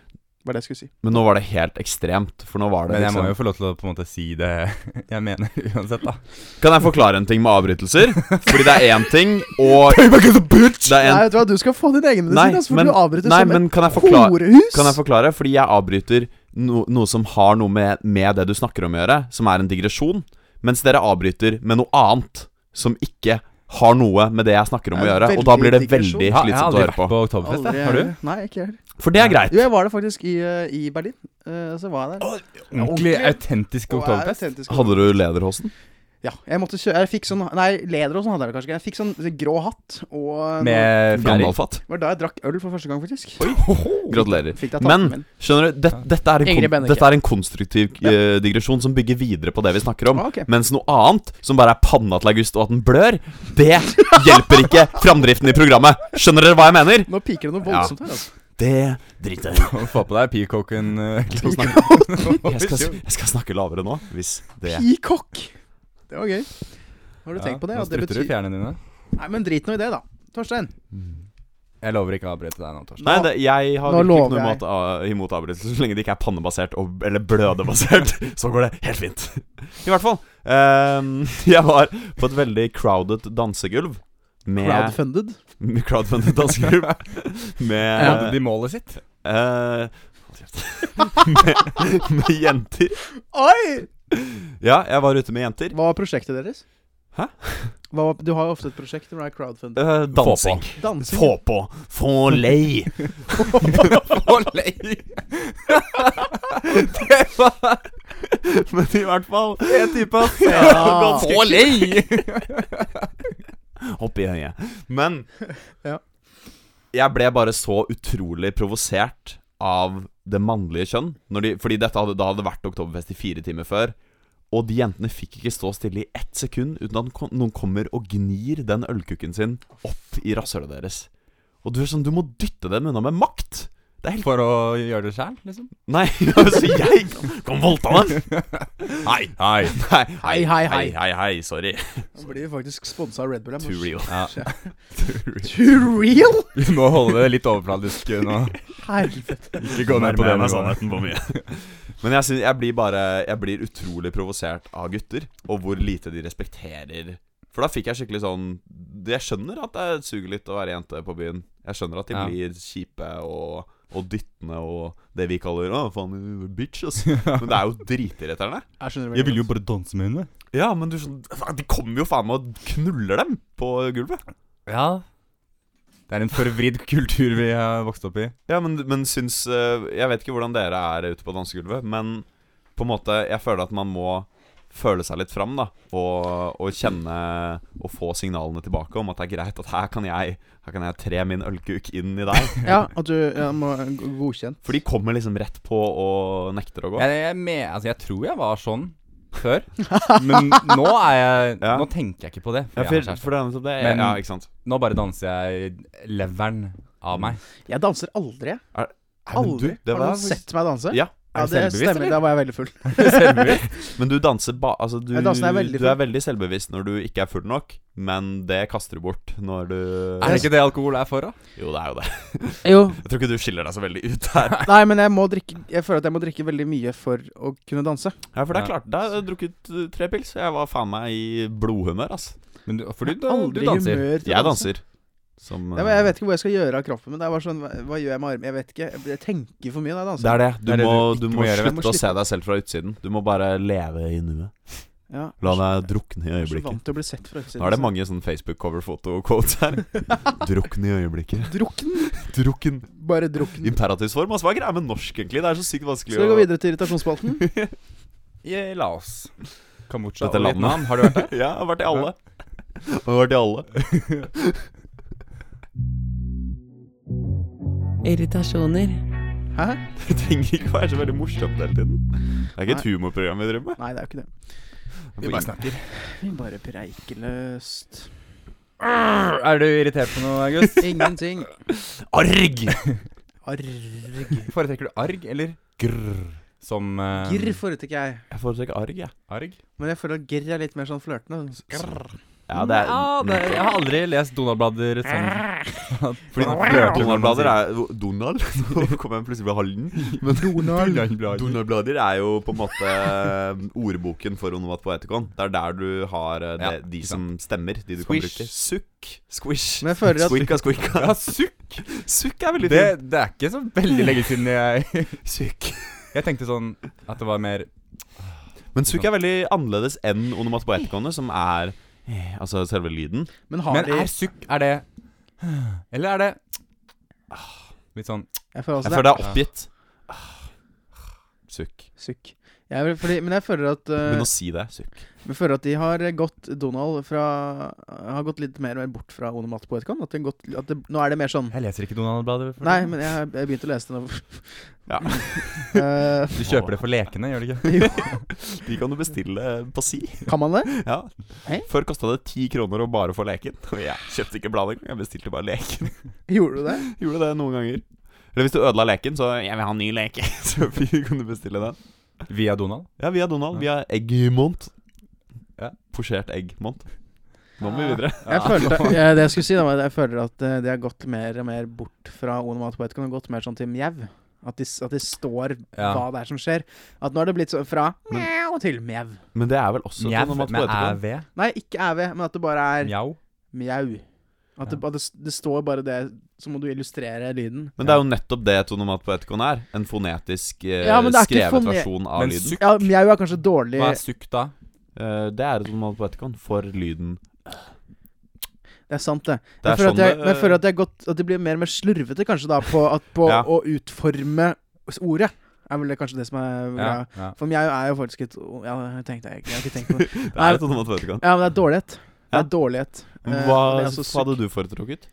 Speaker 3: Var det jeg skulle si.
Speaker 4: Men nå var det helt ekstremt, for nå var det
Speaker 1: Men jeg må jo
Speaker 4: liksom
Speaker 1: få lov til å på en måte si det jeg mener, uansett, da.
Speaker 4: Kan jeg forklare en ting med avbrytelser? Fordi det er én ting, og Det er
Speaker 3: Nei,
Speaker 4: en
Speaker 3: vet du hva, du skal få din egen
Speaker 4: Nei,
Speaker 3: medisin, altså, for
Speaker 4: men-
Speaker 3: du avbryter
Speaker 4: Nei,
Speaker 3: som
Speaker 4: men kan jeg
Speaker 3: et
Speaker 4: forklare
Speaker 3: horehus.
Speaker 4: Kan jeg forklare? Fordi jeg avbryter no, noe som har noe med, med det du snakker om å gjøre, som er en digresjon, mens dere avbryter med noe annet som ikke har noe med det jeg snakker om å
Speaker 3: Det er
Speaker 4: gjøre, og
Speaker 3: veldig
Speaker 4: da blir det
Speaker 3: digresjon.
Speaker 4: veldig
Speaker 1: Jeg har jeg har
Speaker 4: slitsomt å
Speaker 1: aldri
Speaker 4: høre
Speaker 1: vært
Speaker 4: på.
Speaker 1: på Oktoberfest. jeg.
Speaker 3: Aldri-
Speaker 1: Har du?
Speaker 3: Nei, ikke jeg heller.
Speaker 4: For det er greit.
Speaker 3: Jo, jeg var det faktisk i, øh, i Berlin. Eh, så var jeg der.
Speaker 1: Ordentlig autentisk
Speaker 3: Og er
Speaker 1: oktoberfest.
Speaker 3: autentisk.
Speaker 4: Hadde du lederhosen?
Speaker 3: Ja, jeg måtte kjøre Jeg fikk sånn Nei, leder og sånn hadde jeg det kanskje ikke. Jeg fikk sånn grå hatt og eh,
Speaker 1: Med fjæring.
Speaker 4: Gandalf-hatt.
Speaker 3: Det var da jeg drakk øl for første gang, faktisk.
Speaker 4: Gratulerer.
Speaker 3: Fikk deg
Speaker 4: Men-
Speaker 3: tatt min.
Speaker 4: Skjønner du, det, dette, er en
Speaker 3: Ingrid
Speaker 4: kon
Speaker 3: Benneke.
Speaker 4: dette er en konstruktiv eh, digresjon som bygger videre på det vi snakker om.
Speaker 3: Ah, ok.
Speaker 4: Mens noe annet, som bare er panna til August og at den blør, det hjelper ikke framdriften i programmet. Skjønner dere hva jeg mener?
Speaker 3: Nå piker det noe
Speaker 4: Ja.
Speaker 3: voldsomt her, altså.
Speaker 4: Det driter jeg i.
Speaker 1: Få på deg peacocken. eh,
Speaker 4: Jeg skal snakke- jeg skal s- jeg skal snakke lavere nå, hvis det
Speaker 3: Peacock! Det var gøy. Har du
Speaker 1: Ja,
Speaker 3: tenkt på det?
Speaker 1: Nå
Speaker 3: at det
Speaker 1: strutter du i fjærene dine.
Speaker 3: Nei, men drit nå i det, da. Torstein.
Speaker 1: Jeg lover ikke å avbryte deg nå, Torsten.
Speaker 4: Nei, det, jeg har
Speaker 3: Nå
Speaker 4: virkelig ikke
Speaker 3: lover
Speaker 4: noe
Speaker 3: jeg.
Speaker 4: imot, av- imot avbrytelser. Så lenge det ikke er pannebasert og, eller blødebasert, så går det helt fint. I hvert fall. ehm, jeg var på et veldig crowded dansegulv. Med
Speaker 3: Crowdfunded.
Speaker 4: med crowdfunded dansegulv. Med
Speaker 1: Nådde de målet sitt?
Speaker 4: eh, med, med jenter.
Speaker 3: Oi!
Speaker 4: Ja, jeg var ute med jenter.
Speaker 3: Hva var prosjektet deres?
Speaker 4: Hæ?
Speaker 3: Hva var, du har jo ofte et prosjekt hvor det er crowdfunded.
Speaker 4: Eh, dansing.
Speaker 3: Dansing.
Speaker 4: Få på. Få lei.
Speaker 1: Olei! det var
Speaker 4: Men i hvert fall
Speaker 1: en type av
Speaker 3: Ja.
Speaker 1: Olei!
Speaker 4: Hopp i høyet. Men
Speaker 3: Ja.
Speaker 4: jeg ble bare så utrolig provosert av det mannlige kjønn. Når de, fordi dette hadde, da hadde det vært Oktoberfest i fire timer før. Og de jentene fikk ikke stå stille i ett sekund uten at kom- noen kommer og gnir den ølkukken sin opp i rasshølet deres. Og du er sånn, du må dytte dem unna med makt!
Speaker 1: For å gjøre det sjæl, liksom?
Speaker 4: Nei, altså jeg kan voldta dem! Hei,
Speaker 1: Hei.
Speaker 4: hei, hei,
Speaker 3: Hei, hei,
Speaker 4: hei,
Speaker 3: hei.
Speaker 4: hei, hei, sorry.
Speaker 3: Nå blir vi faktisk sponsa av Red Bull. jeg må
Speaker 4: Too real.
Speaker 1: Ja.
Speaker 3: Too real?
Speaker 1: Vi må holde det litt overfladisk eh, nå.
Speaker 3: Helvete.
Speaker 1: Ikke gå ned på det nivået.
Speaker 4: Men jeg, synes, jeg blir bare Jeg blir utrolig provosert av gutter, og hvor lite de respekterer. For da fikk jeg skikkelig sånn Jeg skjønner at det suger litt å være jente på byen. Jeg skjønner at de
Speaker 1: Ja.
Speaker 4: blir kjipe og, og dyttende og det vi kaller Å, faen, du er bitch, ass. Men det er jo dritirriterende.
Speaker 3: Jeg
Speaker 1: Jeg
Speaker 3: skjønner veldig
Speaker 1: ville jo
Speaker 3: godt.
Speaker 1: bare danse med henne.
Speaker 4: Ja, men du skjønner De kommer jo faen meg og knuller dem på gulvet.
Speaker 1: Ja. Det er en forvridd kultur vi har vokst opp i.
Speaker 4: Ja, men, men syns eh, Jeg vet ikke hvordan dere er ute på dansegulvet, men på en måte Jeg føler at man må føle seg litt fram, da. Og, og kjenne og få signalene tilbake om at det er greit at her kan jeg Her kan jeg tre min ølkuk inn i deg.
Speaker 3: Ja, at du ja, må g- godkjent.
Speaker 4: For de kommer liksom rett på og nekter å gå.
Speaker 1: Jeg, jeg, me- altså, jeg tror jeg var sånn før, men nå er jeg
Speaker 4: Ja.
Speaker 1: Nå tenker jeg ikke på det. fordi
Speaker 4: Ja, for,
Speaker 1: jeg har kjæreste.
Speaker 4: for det er nettopp det.
Speaker 1: Men-
Speaker 4: ja, ikke sant.
Speaker 1: Nå bare danser jeg leveren av meg.
Speaker 3: Jeg danser aldri. jeg.
Speaker 4: Nei, men du,
Speaker 3: Aldri.
Speaker 4: det
Speaker 3: Har
Speaker 4: var
Speaker 3: noen sett meg danse?
Speaker 4: Ja.
Speaker 1: Er
Speaker 3: Ja,
Speaker 1: du
Speaker 3: det
Speaker 1: selvbevisst,
Speaker 3: stemmer.
Speaker 1: eller?
Speaker 3: Da var jeg veldig full.
Speaker 4: Men du danser ba... Altså, du,
Speaker 3: Jeg danser når jeg er veldig
Speaker 4: du er veldig selvbevisst når du ikke er full nok, men det kaster du bort når du
Speaker 1: Er det ikke det alkohol er for, da?
Speaker 4: Jo, det er jo det.
Speaker 3: Jo.
Speaker 4: Jeg tror ikke du skiller deg så veldig ut der.
Speaker 3: Nei, men jeg må drikke Jeg føler at jeg må drikke veldig mye for å kunne danse.
Speaker 4: Ja, for det er
Speaker 1: Ja.
Speaker 4: klart. Da har jeg drukket uh, tre pils. Jeg var faen meg i blodhumør, ass.
Speaker 1: Men du, for du, du, du
Speaker 3: Aldri
Speaker 1: danser.
Speaker 3: humør til å
Speaker 4: Jeg
Speaker 3: danse.
Speaker 4: danser. Som eh,
Speaker 3: Ja, men jeg vet ikke hvor jeg skal gjøre av kroppen min. Det er bare sånn, hva, hva gjør jeg med armen? Jeg vet ikke. Jeg, jeg tenker for mye når jeg
Speaker 4: Det
Speaker 3: danser.
Speaker 4: er det. Du
Speaker 1: Det er det
Speaker 4: må,
Speaker 1: du
Speaker 4: du
Speaker 1: ikke
Speaker 4: må
Speaker 1: må gjøre.
Speaker 4: slutte
Speaker 3: Jeg må
Speaker 4: å se deg selv fra utsiden. Du må bare leve i nuet.
Speaker 3: Ja.
Speaker 4: La deg drukne i
Speaker 3: Jeg er så
Speaker 4: øyeblikket.
Speaker 3: vant til å bli sett fra utsiden.
Speaker 4: Nå er det mange sånne Facebook-cover-foto-quotes her. Drukne i øyeblikket.
Speaker 3: Drukken.
Speaker 4: Drukken.
Speaker 3: Bare drukken.
Speaker 4: Imperativsform. Altså, hva er greia med norsk, egentlig? Det er så sykt vanskelig
Speaker 3: Skal vi gå videre til irritasjonsspalten?
Speaker 1: I Laos. Kambodsja
Speaker 4: Dette
Speaker 1: og
Speaker 4: landet.
Speaker 1: Vietnam. Har du vært der?
Speaker 4: Ja, jeg har vært i alle. Jeg har vært i alle.
Speaker 2: Irritasjoner.
Speaker 3: Hæ?
Speaker 4: Det trenger ikke være så veldig morsomt hele tiden. Det er ikke et humorprogram vi driver med.
Speaker 3: Nei, det er jo ikke det.
Speaker 1: Vi bare snakker.
Speaker 3: Vi bare preiker løst.
Speaker 1: Er du irritert på noe, August?
Speaker 3: Ingenting.
Speaker 4: Arg!
Speaker 3: Arg.
Speaker 1: Foretrekker du arg eller grr som eh,
Speaker 3: Girr foretrekker jeg.
Speaker 4: Jeg foretrekker arg, jeg.
Speaker 1: arg?
Speaker 3: Men jeg føler at girr er litt mer sånn flørtende. Grr.
Speaker 4: Ja, det er,
Speaker 1: jeg har aldri lest Donald-blader sånn. Fordi
Speaker 4: Fordi Donald-blader er Donald? Nå kom jeg plutselig fra Halden. Men Donald-blader er jo på en måte eh, ordboken for onomatopoetikon. Det er der du har eh, det,
Speaker 1: Ja,
Speaker 4: de
Speaker 1: ikke
Speaker 4: som stemmer, de du
Speaker 1: Squish.
Speaker 4: kan bruke. Sukk. Squish.
Speaker 3: Men jeg føler at
Speaker 4: Squikka, squikka.
Speaker 1: Ja, sukk!
Speaker 4: Sukk er veldig
Speaker 1: Det,
Speaker 4: fint.
Speaker 1: det er ikke så veldig lenge siden jeg
Speaker 4: Sukk.
Speaker 1: Jeg tenkte sånn at det var mer
Speaker 4: Men sukk er veldig annerledes enn onomatopoetikonet, som er eh, altså selve lyden.
Speaker 3: Men har
Speaker 1: Men
Speaker 3: de
Speaker 1: er sukk Er det Eller er det Litt sånn
Speaker 3: Jeg føler
Speaker 1: Altså,
Speaker 4: Jeg
Speaker 3: også
Speaker 4: føler
Speaker 3: det.
Speaker 4: det er oppgitt. Ah. Sukk.
Speaker 3: Sukk. Jeg, vil- fordi, men jeg føler at eh,
Speaker 4: Begynn å si det. Sukk.
Speaker 3: Jeg føler at de har gått Donald fra Har gått litt mer og mer bort fra onomatpoetikaen. At, den gått, at det, nå er det mer sånn
Speaker 1: Jeg leser ikke Donald-bladet. for
Speaker 3: Nei,
Speaker 1: tiden.
Speaker 3: men jeg har jeg har begynt å lese det nå.
Speaker 4: Ja.
Speaker 3: Eh,
Speaker 1: Du kjøper det for lekene, gjør du ikke?
Speaker 3: jo,
Speaker 4: De kan du bestille på si.
Speaker 3: kan man det?
Speaker 4: Ja.
Speaker 3: Hei.
Speaker 4: Før kosta det ti kroner å bare få leken. Og jeg kjøpte ikke bladet engang, jeg bestilte bare leken.
Speaker 3: Gjorde du det?
Speaker 4: Gjorde det noen ganger. Eller hvis du ødela leken, så Jeg vil ha en ny leke. Så kan du bestille den.
Speaker 1: Via Donald.
Speaker 4: Ja, via Donald. Via Eggmont. Ja. Posjert Eggmont. Nå må vi videre.
Speaker 3: Jeg følte, eh, det jeg skulle si, da, var at jeg føler at eh, de har gått mer og mer bort fra onomatpoetikaen og gått mer sånn til mjau. At de, s- at de står
Speaker 1: Ja.
Speaker 3: hva det er som skjer. At nå har det blitt sånn fra
Speaker 4: Men-
Speaker 3: mjau til mjau.
Speaker 4: Men det er vel også
Speaker 1: Mjau
Speaker 4: sånn at
Speaker 1: med æv.
Speaker 3: Nei, ikke æv, men at det bare er
Speaker 1: Mjau.
Speaker 3: mjau. At det, at det, s- det står bare det, så må du illustrere lyden.
Speaker 4: Men det er jo nettopp det et onomat på etikon er. En fonetisk eh,
Speaker 3: Ja, men det er ikke
Speaker 4: skrevet
Speaker 3: fone-
Speaker 4: versjon av
Speaker 1: Men
Speaker 4: lyden.
Speaker 1: sukk,
Speaker 3: Ja, mjau er kanskje dårlig
Speaker 1: hva er sukk da?
Speaker 4: Eh, det er et onomat på etikon for lyden.
Speaker 3: Det er sant, det.
Speaker 4: Det
Speaker 3: jeg
Speaker 4: er
Speaker 3: føler
Speaker 4: sånn
Speaker 3: at jeg, men jeg
Speaker 4: det-
Speaker 3: føler at, jeg godt, at de blir mer og mer slurvete, kanskje, da, på, at, på
Speaker 4: Ja.
Speaker 3: å utforme s- ordet. Er vel det kanskje det som er greia.
Speaker 1: Ja, ja.
Speaker 3: For mjau er jo faktisk et Ja, jeg tenkte jeg ikke. Jeg har ikke tenkt på det.
Speaker 4: Det er et onomat på etikon.
Speaker 3: Ja, men det er dårlighet. Det
Speaker 4: Ja.
Speaker 3: er dårlighet. Eh,
Speaker 4: Hva,
Speaker 3: det er
Speaker 4: hva
Speaker 3: altså
Speaker 4: hadde du foretrukket?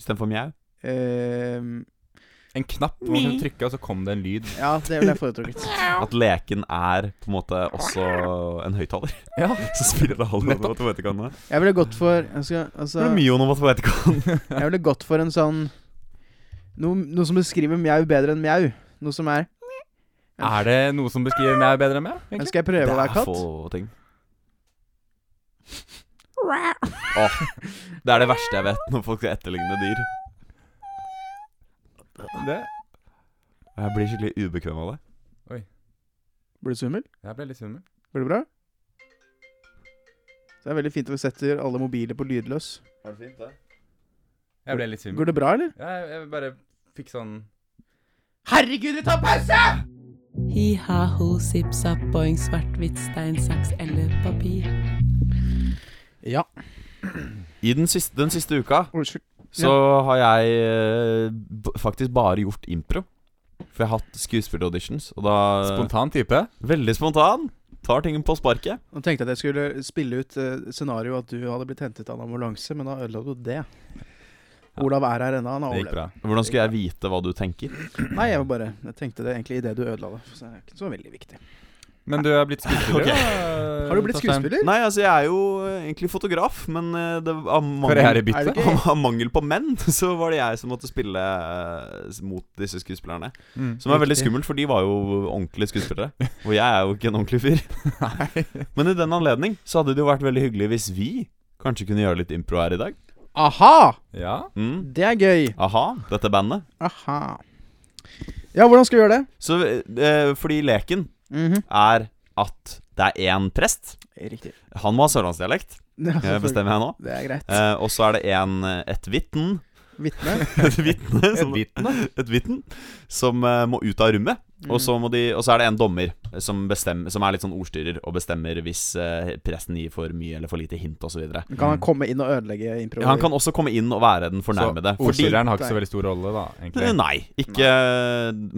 Speaker 4: Istedenfor mjau?
Speaker 3: Eh,
Speaker 1: En knapp hvor man kunne trykke, og så kom det en lyd.
Speaker 3: ja, det ville jeg foretrukket.
Speaker 4: At leken er på en måte også en høyttaler.
Speaker 1: Ja.
Speaker 4: Så spiller det halv
Speaker 1: Nettopp.
Speaker 4: onomat på etikon. Det
Speaker 3: Jeg ville gått for jeg skal, altså,
Speaker 4: er mye onomat på etikon.
Speaker 3: Jeg ville gått for en sånn Noe, noe som beskriver mjau bedre enn mjau. Noe som er
Speaker 1: Er det noe som beskriver meg bedre enn meg? egentlig?
Speaker 3: Skal jeg prøve å være katt?
Speaker 4: få ting. Åh, det er det verste jeg vet når folk skal etterligne dyr.
Speaker 1: Det?
Speaker 4: Jeg blir skikkelig ubekvem av det.
Speaker 3: Blir du svimmel?
Speaker 1: Jeg ble litt svimmel.
Speaker 3: Blir det bra? Så det er veldig fint at vi setter alle mobiler på lydløs.
Speaker 4: Har det fint, det?
Speaker 1: Jeg ble litt svimmel.
Speaker 3: Går det bra, eller?
Speaker 1: Ja, jeg, jeg bare fikk sånn
Speaker 3: Herregud, vi tar pause!
Speaker 2: Hi, ha, ho, sipp, sapp, boing, svart, hvitt, stein, saks eller papir.
Speaker 3: Ja.
Speaker 4: I den siste, den siste uka
Speaker 3: Unnskyld.
Speaker 4: så har jeg eh, b faktisk bare gjort impro. For jeg har hatt skuespillerauditions, og da
Speaker 1: Spontan type.
Speaker 4: Veldig spontan. Tar ting på sparket.
Speaker 3: Nå tenkte jeg at jeg skulle spille ut eh, scenarioet at du hadde blitt hentet av en ambulanse, men da ødela du det. Olav er her ennå, han har
Speaker 1: Det gikk
Speaker 3: overlevd.
Speaker 1: bra.
Speaker 4: Hvordan skulle jeg vite hva du tenker?
Speaker 3: Nei, jeg var bare Jeg tenkte det egentlig idet du ødela det. Så det er ikke så veldig viktig.
Speaker 1: Men du er blitt skuespiller.
Speaker 4: Ok.
Speaker 1: da,
Speaker 3: Har du blitt
Speaker 1: Torstein?
Speaker 3: skuespiller?
Speaker 4: Nei, altså, jeg er jo eh, egentlig fotograf, men eh, det var mangel
Speaker 3: Er
Speaker 1: Karrierebytte?
Speaker 3: det ikke?
Speaker 4: Av mangel på menn så var det jeg som måtte spille eh, mot disse skuespillerne.
Speaker 1: Mm.
Speaker 4: Som er veldig
Speaker 1: Riktig.
Speaker 4: skummelt, for de var jo ordentlige skuespillere. Og jeg er jo ikke en ordentlig fyr. Men i den anledning så hadde det jo vært veldig hyggelig hvis vi kanskje kunne gjøre litt impro her i dag.
Speaker 3: Aha!
Speaker 1: Ja.
Speaker 4: Mm.
Speaker 3: Det er gøy.
Speaker 4: Aha, dette bandet.
Speaker 3: Aha. Ja, hvordan skal vi gjøre det?
Speaker 4: Så eh, fordi leken er at det er én prest.
Speaker 3: Riktig.
Speaker 4: Han må ha sørlandsdialekt,
Speaker 3: Ja,
Speaker 4: eh,
Speaker 3: selvfølgelig.
Speaker 4: bestemmer jeg nå.
Speaker 3: Det er greit.
Speaker 4: Eh, og så er det en, eh, et vitne
Speaker 3: Vitne.
Speaker 4: Et vitne
Speaker 1: Et
Speaker 4: som,
Speaker 1: vitne?
Speaker 4: et vitne, som eh, må ut av rommet.
Speaker 3: Mm.
Speaker 4: Og så, må de, og så er det en dommer eh, som, bestemmer, som er litt sånn ordstyrer og bestemmer hvis eh, presten gir for mye eller for lite hint osv.
Speaker 3: Men Mm. Kan han komme inn og ødelegge improen?
Speaker 4: Han kan også komme inn og være den fornærmede.
Speaker 1: Så ordstyreren har ikke så veldig stor rolle, da, egentlig.
Speaker 4: Nei, ikke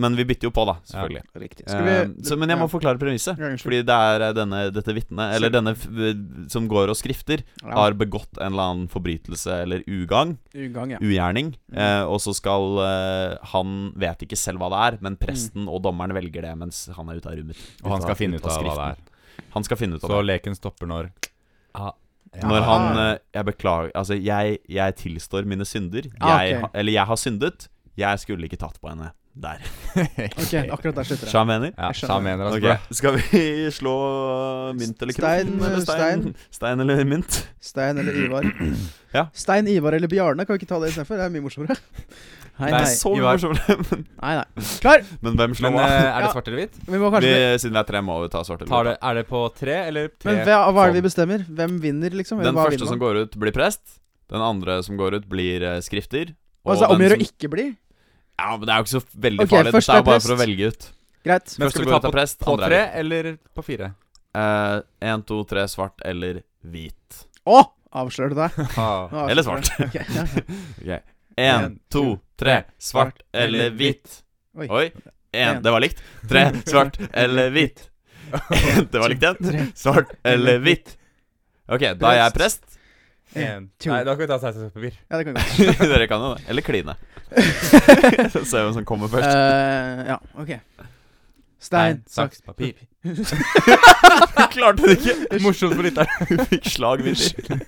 Speaker 4: Men vi bytter jo på, da, selvfølgelig.
Speaker 3: Riktig.
Speaker 4: Eh, så, men jeg må forklare premisset.
Speaker 3: Ja, unnskyld.
Speaker 4: Fordi det er eh, denne, dette vitnet, eller denne f som går og skrifter,
Speaker 3: Ja.
Speaker 4: har begått en eller annen forbrytelse eller ugagn.
Speaker 3: Ugang, ja. Mm.
Speaker 4: ugjerning. Eh, og så skal eh, Han vet ikke selv hva det er, men presten
Speaker 3: Mm.
Speaker 4: og dommeren velger det mens han er ute av rommet.
Speaker 1: Og han skal finne ut av hva det er.
Speaker 4: er. Han skal finne ut av
Speaker 1: Så
Speaker 4: det.
Speaker 1: leken stopper når ah, ja.
Speaker 4: Når han eh, Jeg beklager Altså, jeg, jeg tilstår mine synder. Jeg,
Speaker 3: Ah, ok.
Speaker 4: ha- Eller jeg har syndet. Jeg skulle ikke tatt på henne der.
Speaker 3: Ok, akkurat der slutter det.
Speaker 4: Skjønner du hva jeg mener?
Speaker 1: Ja,
Speaker 3: Jeg skjønner.
Speaker 1: så han mener altså
Speaker 4: Ok, Skal vi slå mynt eller
Speaker 3: Stein,
Speaker 4: krone? eller
Speaker 3: stein.
Speaker 4: stein eller mynt?
Speaker 3: Stein eller Ivar.
Speaker 4: Ja.
Speaker 3: Stein, Ivar eller Bjarne. Kan vi ikke ta det istedenfor? Det er mye morsommere. Hei,
Speaker 4: Det
Speaker 3: nei.
Speaker 4: er så mye
Speaker 1: Ivar.
Speaker 4: morsomt. men-
Speaker 3: Nei, nei. Klar!
Speaker 4: Men hvem slår
Speaker 1: Men
Speaker 4: hva?
Speaker 1: eh, er det
Speaker 3: Ja.
Speaker 1: svart eller hvitt?
Speaker 3: Vi må
Speaker 4: Vi,
Speaker 3: kanskje
Speaker 4: siden vi er tre, må vi ta svart eller
Speaker 1: Tar
Speaker 4: hvitt.
Speaker 1: det, er det på tre eller tre?
Speaker 3: Men hva, hva er det
Speaker 1: sånn.
Speaker 3: vi bestemmer? Hvem vinner, liksom?
Speaker 4: Den
Speaker 3: Hva
Speaker 4: første
Speaker 3: vinner
Speaker 4: som
Speaker 3: man?
Speaker 4: går ut, blir prest. Den andre som går ut, blir eh, skrifter. og
Speaker 3: Altså,
Speaker 4: den
Speaker 3: omgjør å
Speaker 4: som-
Speaker 3: ikke bli?
Speaker 4: Ja, men Det er jo ikke så veldig
Speaker 3: Ok,
Speaker 4: farlig.
Speaker 3: først
Speaker 4: Dette er
Speaker 3: er
Speaker 4: jo bare
Speaker 3: prest.
Speaker 4: for å velge ut.
Speaker 3: Greit.
Speaker 1: Men
Speaker 4: Første
Speaker 1: skal vi
Speaker 4: går
Speaker 1: ta
Speaker 4: ut av prest,
Speaker 1: På
Speaker 4: andre
Speaker 1: tre
Speaker 4: er
Speaker 1: eller på fire?
Speaker 4: uh, En, to, tre, svart eller hvit.
Speaker 3: Å! Avslører du deg?
Speaker 1: Ah.
Speaker 3: Nå
Speaker 4: Eller
Speaker 3: avslører
Speaker 4: svart.
Speaker 3: du deg. Ok, ja.
Speaker 4: En, to, tre, svart eller hvit.
Speaker 3: Oi.
Speaker 4: Oi. En, det var likt. Tre, svart eller hvit. En, det var likt igjen. Svart eller hvit. Ok, da er jeg prest.
Speaker 1: En.
Speaker 3: to.
Speaker 1: Nei, da kan vi ta seisamspapir.
Speaker 3: Ja, det kan vi godt.
Speaker 4: Dere kan jo det. Eller kline. Så ser vi hvem som kommer først.
Speaker 3: Eh, ja, ok. Stein, saks,
Speaker 1: papir.
Speaker 4: Klarte du ikke?
Speaker 1: Morsomt for lytteren.
Speaker 4: Fikk slag midt i.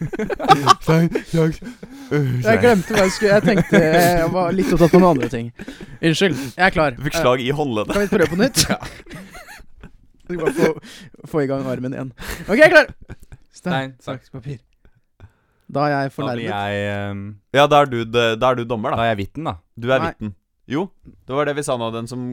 Speaker 3: Jeg glemte hva jeg skulle Jeg tenkte eh, Jeg var litt opptatt med noen andre ting. Unnskyld. Jeg er klar.
Speaker 4: Du fikk
Speaker 3: Eh,
Speaker 4: slag i håndleddet.
Speaker 3: Kan vi prøve på nytt? Ja. Du må bare få, få i gang armen igjen. Ok, jeg er klar.
Speaker 1: Stein, saks,
Speaker 3: papir. Da er
Speaker 1: Da
Speaker 3: jeg
Speaker 1: blir
Speaker 3: fornærmet.
Speaker 1: jeg ehm,
Speaker 4: Ja, da er du, det- da er du dommer,
Speaker 1: Da
Speaker 4: da.
Speaker 1: er jeg vitten, da.
Speaker 4: Du er
Speaker 3: Nei.
Speaker 4: vitten. Jo, det var det vi sa nå. Den som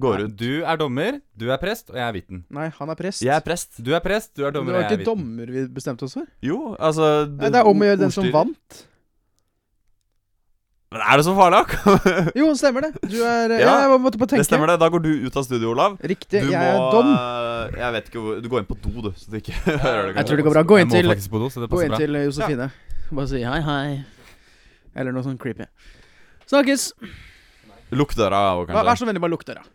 Speaker 4: går ut.
Speaker 1: Du er dommer, du er prest, og jeg er vitten.
Speaker 3: Nei, han er prest.
Speaker 4: Jeg er prest.
Speaker 1: Du er prest, du er
Speaker 3: Men
Speaker 1: dommer, og
Speaker 3: det
Speaker 1: jeg
Speaker 3: var
Speaker 1: er
Speaker 3: ikke
Speaker 1: vitten.
Speaker 3: dommer vi bestemte oss for.
Speaker 4: Jo, altså
Speaker 3: Nei, det er om å gjøre den som
Speaker 4: ordstyrer.
Speaker 3: vant.
Speaker 4: Men er det så farlig, da?
Speaker 3: Jo, stemmer det. Du er Ja,
Speaker 4: Ja,
Speaker 3: jeg måtte bare tenke.
Speaker 4: Det stemmer det. Da går du ut av studio, Olav.
Speaker 3: Riktig.
Speaker 4: Du
Speaker 3: jeg er
Speaker 4: må
Speaker 3: dom.
Speaker 4: eh, Jeg vet ikke hvor Du går inn på do, du, så du ikke hører det.
Speaker 3: Jeg
Speaker 4: kanskje.
Speaker 3: tror det går bra. Gå inn
Speaker 1: Jeg
Speaker 3: til
Speaker 1: må faktisk på do, så det
Speaker 3: Gå
Speaker 1: passer
Speaker 3: inn
Speaker 1: bra.
Speaker 3: til eh, Josefine. Bare si hei, hei. Eller noe sånn creepy. Snakkes.
Speaker 4: Lukk døra òg,
Speaker 3: Vær
Speaker 4: kanskje.
Speaker 3: vær så vennlig, bare lukk døra.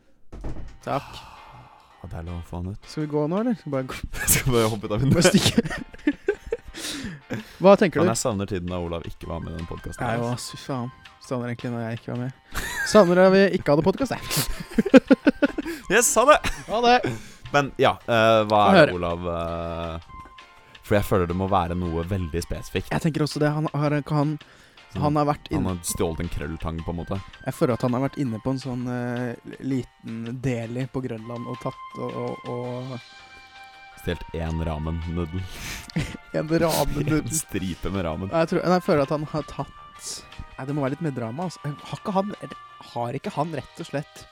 Speaker 3: Takk.
Speaker 4: Ja, det er lov å få han ut.
Speaker 3: Skal vi gå nå, eller? Skal vi bare gå
Speaker 4: Skal bare hoppe ut av
Speaker 3: med
Speaker 4: vinduet.
Speaker 3: stykket? Hva tenker
Speaker 4: Men
Speaker 3: du?
Speaker 4: jeg savner tiden da Olav ikke var med i den podkasten.
Speaker 3: Jeg òg, fy faen. Savner egentlig når jeg ikke var med. Savner da vi ikke hadde podkast, jeg.
Speaker 4: Yes, ha det!
Speaker 3: Ha det.
Speaker 4: Men ja, eh, hva
Speaker 3: Få
Speaker 4: er
Speaker 3: høre.
Speaker 4: det, Olav eh, For jeg føler det må være noe veldig spesifikt.
Speaker 3: Jeg tenker også det. Han har, han, han har vært
Speaker 4: Han
Speaker 3: inne
Speaker 4: har stjålet en krølltang, på en måte.
Speaker 3: Jeg føler at han har vært inne på en sånn eh, liten deli på Grønland og tatt og, og,
Speaker 4: Stjålet én ramen-nudel.
Speaker 3: og en ramenudel.
Speaker 4: En stripe med ramen.
Speaker 3: Nei, Jeg, tror, nei, jeg føler at han har tatt Nei, det må være litt mer drama. Altså. Har, ikke han, eller har ikke han rett og slett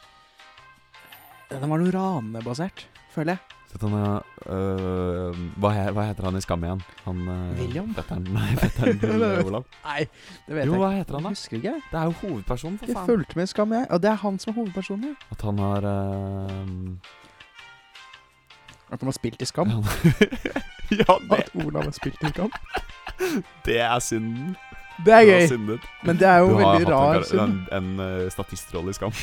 Speaker 3: Den var noe ranebasert, føler jeg.
Speaker 4: Så at han er, eh, hva, he- hva heter han i Skam igjen? Han eh,
Speaker 3: William?
Speaker 4: Fetteren, nei, fetteren til eh, Olav.
Speaker 3: Nei, det vet
Speaker 4: Jo,
Speaker 3: jeg ikke.
Speaker 4: hva heter han, da?
Speaker 3: Husker ikke. jeg.
Speaker 4: Det er jo hovedpersonen, for
Speaker 3: Jeg
Speaker 4: faen.
Speaker 3: fulgte med i Skam, jeg. Og det er han som er hovedpersonen. Ja.
Speaker 4: At han har eh,
Speaker 3: At han har spilt i Skam.
Speaker 4: Ja, det,
Speaker 3: At Olav har spilt i Skam.
Speaker 4: det er synden.
Speaker 3: Det er
Speaker 4: Du har
Speaker 3: gøy.
Speaker 4: syndet.
Speaker 3: Men det er jo
Speaker 4: Du har
Speaker 3: veldig
Speaker 4: hatt en
Speaker 3: rar
Speaker 4: kar-
Speaker 3: synd.
Speaker 4: En, en, eh, statistrolle i Skam.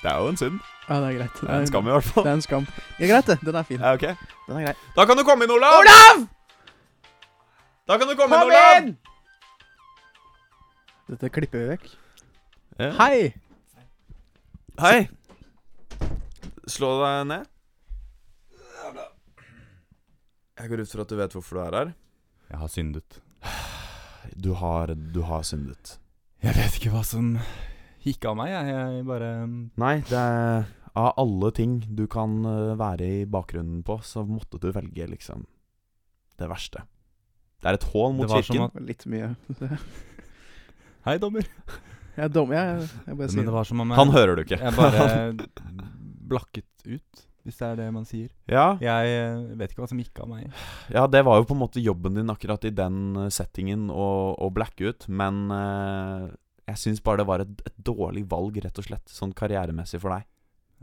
Speaker 4: Det er jo en synd.
Speaker 3: Ja, det er greit.
Speaker 4: Det er en skam, i hvert
Speaker 3: Det
Speaker 4: fall.
Speaker 3: er en skam. Ja, greit, det. Den er fin.
Speaker 4: Ja, ok
Speaker 3: Den er grei.
Speaker 4: Da kan du komme inn, Olav! Olav! Da kan du komme inn, Olav!
Speaker 3: Dette klipper vi vekk.
Speaker 4: Ja.
Speaker 3: Hei!
Speaker 4: Hei. Slå deg ned. Jeg går ut fra at du vet hvorfor du er her.
Speaker 1: Jeg har syndet.
Speaker 4: Du har, du har syndet.
Speaker 1: Jeg vet ikke hva som gikk av meg, jeg. Jeg bare
Speaker 4: Nei, det er av alle ting du kan eh, være i bakgrunnen på, så måtte du velge liksom det verste. Det er et hån
Speaker 1: Det
Speaker 4: mot
Speaker 1: var som
Speaker 4: kirken.
Speaker 1: at
Speaker 3: Litt mye.
Speaker 1: Hei, dommer.
Speaker 3: Jeg er dum, jeg. Jeg bare
Speaker 1: Men det
Speaker 3: sier det.
Speaker 1: var som om jeg
Speaker 4: Han hører du ikke.
Speaker 1: Jeg bare blakket ut, hvis det er det man sier.
Speaker 4: ja,
Speaker 1: Jeg eh, vet ikke hva som gikk av meg.
Speaker 4: Ja, det var jo på en måte jobben din akkurat i den eh, settingen å, å blacke ut, men eh, jeg syns bare det var et, et dårlig valg, rett og slett, sånn karrieremessig for deg.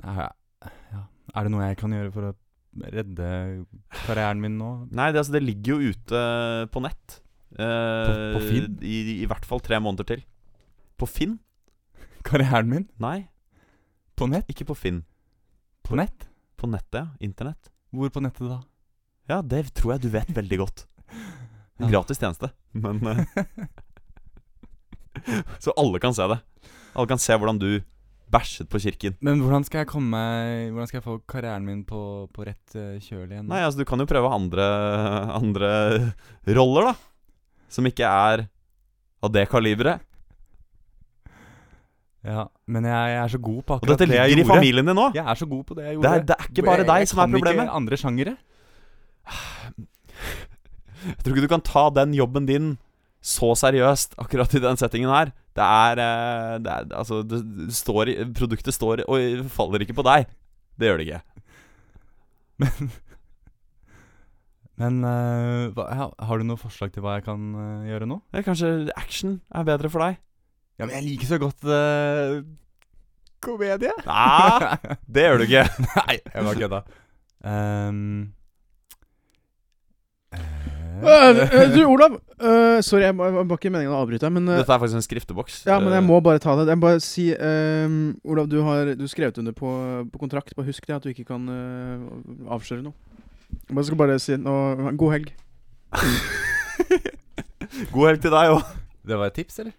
Speaker 1: Ja, ja. Er det noe jeg kan gjøre for å redde karrieren min nå?
Speaker 4: Nei, det, altså, det ligger jo ute på nett. eh,
Speaker 1: På- på Finn?
Speaker 4: I, I hvert fall tre måneder til. På Finn?
Speaker 1: Karrieren min?
Speaker 4: Nei,
Speaker 1: På nett?
Speaker 4: ikke på Finn.
Speaker 1: På nett?
Speaker 4: På nettet, ja. Internett.
Speaker 1: Hvor på nettet da?
Speaker 4: Ja, det tror jeg du vet veldig godt. En
Speaker 1: Ja.
Speaker 4: Gratis tjeneste, men eh, Så alle kan se det. Alle kan se hvordan du bæsjet på kirken.
Speaker 1: Men hvordan skal jeg komme meg Hvordan skal jeg få karrieren min på, på rett eh, kjøl igjen?
Speaker 4: Nei, altså du kan jo prøve andre, andre roller, da. Som ikke er av det kaliberet.
Speaker 1: Ja, men jeg, jeg er så god på
Speaker 4: Og
Speaker 1: akkurat
Speaker 4: dette
Speaker 1: det jeg
Speaker 4: ligger i
Speaker 1: gjorde.
Speaker 4: familien din nå.
Speaker 1: Jeg er så god på det jeg
Speaker 4: Det
Speaker 1: gjorde.
Speaker 4: er, det er ikke bare
Speaker 1: Jeg-
Speaker 4: deg som er
Speaker 1: Jeg
Speaker 4: problemet.
Speaker 1: kan ikke andre sjangere.
Speaker 4: Jeg tror ikke du kan ta den jobben din så seriøst akkurat i den settingen her. Det er, eh, det er Altså, det det står i Produktet står i- og faller ikke på deg. Det gjør det ikke.
Speaker 1: Men, men eh, hva, ja, har du noe forslag til hva jeg kan eh, gjøre nå?
Speaker 4: Ja, Kanskje action er bedre for deg?
Speaker 1: Ja, men jeg liker så godt eh, komedie.
Speaker 4: Nei, Ah, det gjør du ikke.
Speaker 1: Ehm, Nei, jeg bare kødda. Um, eh,
Speaker 3: Eh, Du, Olav. eh, sorry, jeg må- jeg var ikke meningen å avbryte, men eh,
Speaker 4: Dette er faktisk en skrifteboks.
Speaker 3: Ja, men jeg
Speaker 4: Eh,
Speaker 3: må bare ta det. Jeg må bare si ehm, Olav, du har du skrevet under på, på kontrakt. Bare husk det, at du ikke kan eh, avsløre noe. Jeg bare skal bare si nå, god helg.
Speaker 4: Eh, God helg til deg òg.
Speaker 1: Det var et tips, eller?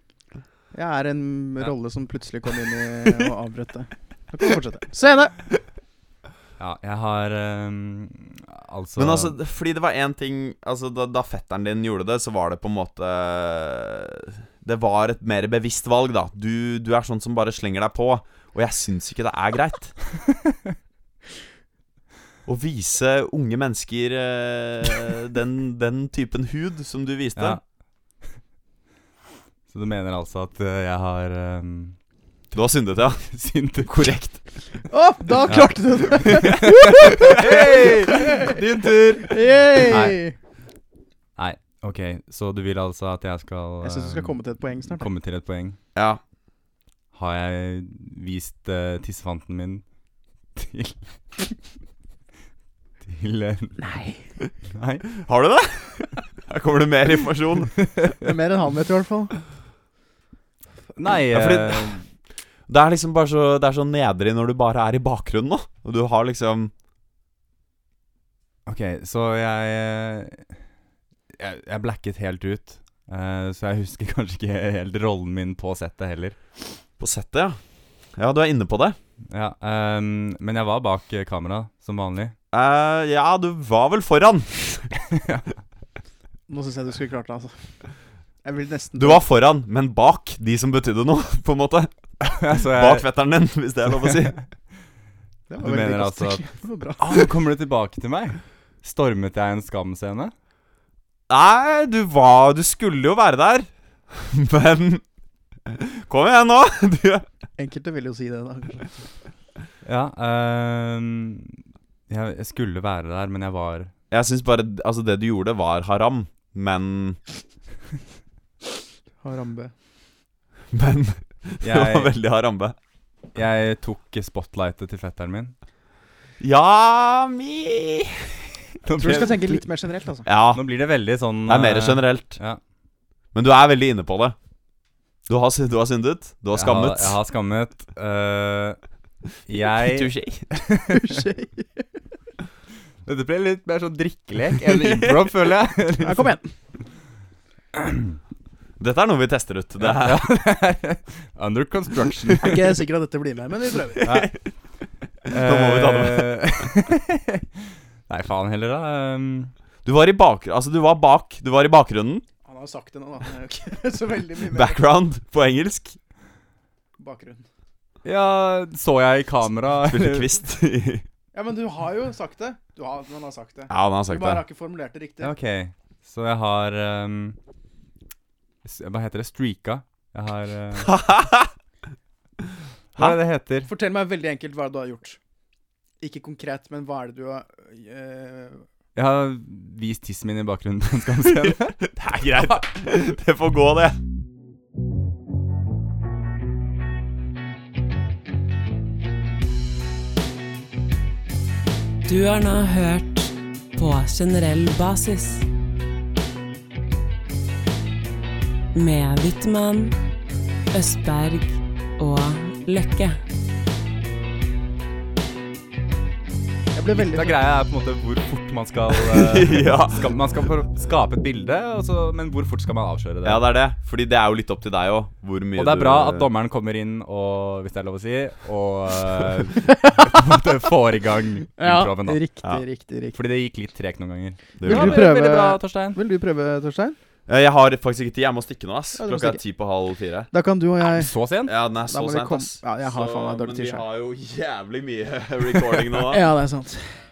Speaker 3: Jeg er en
Speaker 1: Ja.
Speaker 3: rolle som plutselig kom inn i og avbrøt det. Da kan vi fortsette. Scene!
Speaker 1: Ja, jeg har ehm, Altså
Speaker 4: Men altså, fordi det var én ting Altså, da, da fetteren din gjorde det, så var det på en måte Det var et mer bevisst valg, da. Du, du er sånn som bare slenger deg på, og jeg syns ikke det er greit. Å vise unge mennesker eh, den, den typen hud som du viste.
Speaker 1: ja. Så du mener altså at eh, jeg har ehm,
Speaker 4: Du har syndet, ja.
Speaker 1: syndet?
Speaker 4: Korrekt.
Speaker 3: Å, da klarte du det!
Speaker 4: Din tur.
Speaker 3: Yay!
Speaker 1: Ok, så du vil altså at jeg skal
Speaker 3: Jeg syns du skal
Speaker 1: ehm,
Speaker 3: komme til et poeng snart.
Speaker 1: komme til et poeng.
Speaker 4: Ja.
Speaker 1: Har jeg vist eh, tissefanten min til Til eh, Nei.
Speaker 4: Har du det? Her kommer det mer informasjon.
Speaker 3: Det er mer enn han vet, i hvert fall.
Speaker 1: Nei
Speaker 4: Ja, fordi-
Speaker 1: eh,
Speaker 4: Det er liksom bare så Det er så nedrig når du bare er i bakgrunnen nå. Og du har liksom
Speaker 1: Ok, så jeg eh, Jeg, jeg blacket helt ut. eh, så jeg husker kanskje ikke helt rollen min på settet heller.
Speaker 4: På settet, ja. Ja, du er inne på det.
Speaker 1: Ja, ehm, Men jeg var bak eh, kamera, som vanlig.
Speaker 4: Eh, ja, du var vel foran.
Speaker 3: Nå syns jeg du skulle klart det, altså. Jeg vil nesten
Speaker 4: Du var foran, men bak de som betydde noe, på en måte.
Speaker 1: så jeg,
Speaker 4: Bak fetteren din, hvis det er lov å si.
Speaker 3: Det
Speaker 1: Du
Speaker 3: var veldig
Speaker 1: mener
Speaker 3: godt
Speaker 1: altså at-
Speaker 3: stykke. Det var bra.
Speaker 1: Ah, nå kommer du tilbake til meg! Stormet jeg en skamscene?
Speaker 4: Nei, du var Du skulle jo være der, men Kom igjen nå! Du,
Speaker 3: Enkelte vil jo si det, da. kanskje.
Speaker 1: Ja. ehm, jeg, jeg skulle være der, men jeg var
Speaker 4: jeg syns bare Altså, det du gjorde, var haram, men
Speaker 3: Harambe.
Speaker 4: Men det var
Speaker 1: Jeg,
Speaker 4: veldig harambe.
Speaker 1: jeg tok spotlightet til fetteren min.
Speaker 4: Ja, mi
Speaker 1: Nå
Speaker 3: Jeg tror du
Speaker 1: blir,
Speaker 3: skal tenke litt mer generelt, altså.
Speaker 4: Ja,
Speaker 1: nå blir det veldig sånn
Speaker 4: Ah. det er mer
Speaker 1: eh,
Speaker 4: generelt.
Speaker 1: Ja.
Speaker 4: Men du er veldig inne på det. Du har, sy- du har syndet. Du har
Speaker 1: Jeg har, jeg
Speaker 4: skammet.
Speaker 1: har skammet. Eh, jeg
Speaker 4: Touché.
Speaker 1: Dette ble litt mer sånn drikkelek enn improv, føler jeg.
Speaker 3: Ja, kom igjen.
Speaker 4: Dette er noe vi tester ut. Det er,
Speaker 1: Under construction.
Speaker 3: Jeg er ikke sikker at dette blir med, men vi prøver.
Speaker 1: Nei.
Speaker 4: Da må vi ta
Speaker 1: Eh, Nei, faen heller, da. Um,
Speaker 4: Du var i bakgrunnen Altså, du var bak Du var i bakgrunnen.
Speaker 3: Han har jo sagt det nå, da. Det er jo ikke så veldig mye mer
Speaker 4: Background på engelsk.
Speaker 3: bakgrunn.
Speaker 1: ja, så jeg i kamera
Speaker 4: Spilte kvist. ja,
Speaker 3: Ja, men du har jo sagt det. Du har, men han har sagt det.
Speaker 4: han har
Speaker 3: Du
Speaker 4: sagt
Speaker 3: bare
Speaker 4: det.
Speaker 3: har ikke formulert det riktig.
Speaker 1: Ja, Ok, så jeg har ehm, s- Hva heter det? Streaka. Jeg har eh, Hva er det det heter?
Speaker 3: Fortell meg veldig enkelt hva du har gjort. Ikke konkret, men hva er det du har eh,
Speaker 1: Jeg har vist tissen min i bakgrunnen på en skamscene.
Speaker 4: Det er greit. Det får gå, det.
Speaker 2: Du har nå hørt på generell basis. Med Wittmann, Østberg og Løkke.
Speaker 3: Jeg ble
Speaker 1: Da
Speaker 3: veldig
Speaker 1: greia er på en måte hvor fort man skal, eh,
Speaker 4: Ja.
Speaker 1: skal Man skal for- skape et bilde, og så, men hvor fort skal man avsløre det?
Speaker 4: Ja, det er det. Fordi det er jo litt opp til deg òg, hvor mye
Speaker 1: og det er
Speaker 4: du-
Speaker 1: bra at dommeren kommer inn og, hvis det er lov å si, og eh, på en måte får i gang improven. da.
Speaker 3: riktig,
Speaker 4: Ja.
Speaker 3: riktig, riktig.
Speaker 1: Fordi det gikk litt tregt noen ganger.
Speaker 4: Det
Speaker 3: Vil
Speaker 1: Ja,
Speaker 4: gjør
Speaker 3: du
Speaker 1: veldig-
Speaker 4: det.
Speaker 3: prøve-
Speaker 1: Veldig bra, Torstein.
Speaker 3: Vil du prøve, Torstein?
Speaker 4: Eh, Jeg har faktisk ikke tid. Jeg må stikke nå, ass.
Speaker 3: Ja, du må
Speaker 4: Klokka er
Speaker 3: stikke.
Speaker 4: ti på halv fire.
Speaker 3: Da kan du og jeg
Speaker 1: Så sent?
Speaker 4: Ja, den er så
Speaker 3: må vi
Speaker 4: sent,
Speaker 3: komme-
Speaker 4: ass.
Speaker 3: Ja, jeg har
Speaker 4: Så-
Speaker 3: faen meg dårlig tid
Speaker 4: Men
Speaker 3: selv.
Speaker 4: vi har jo jævlig mye recording nå. da.
Speaker 3: Ja, det er sant.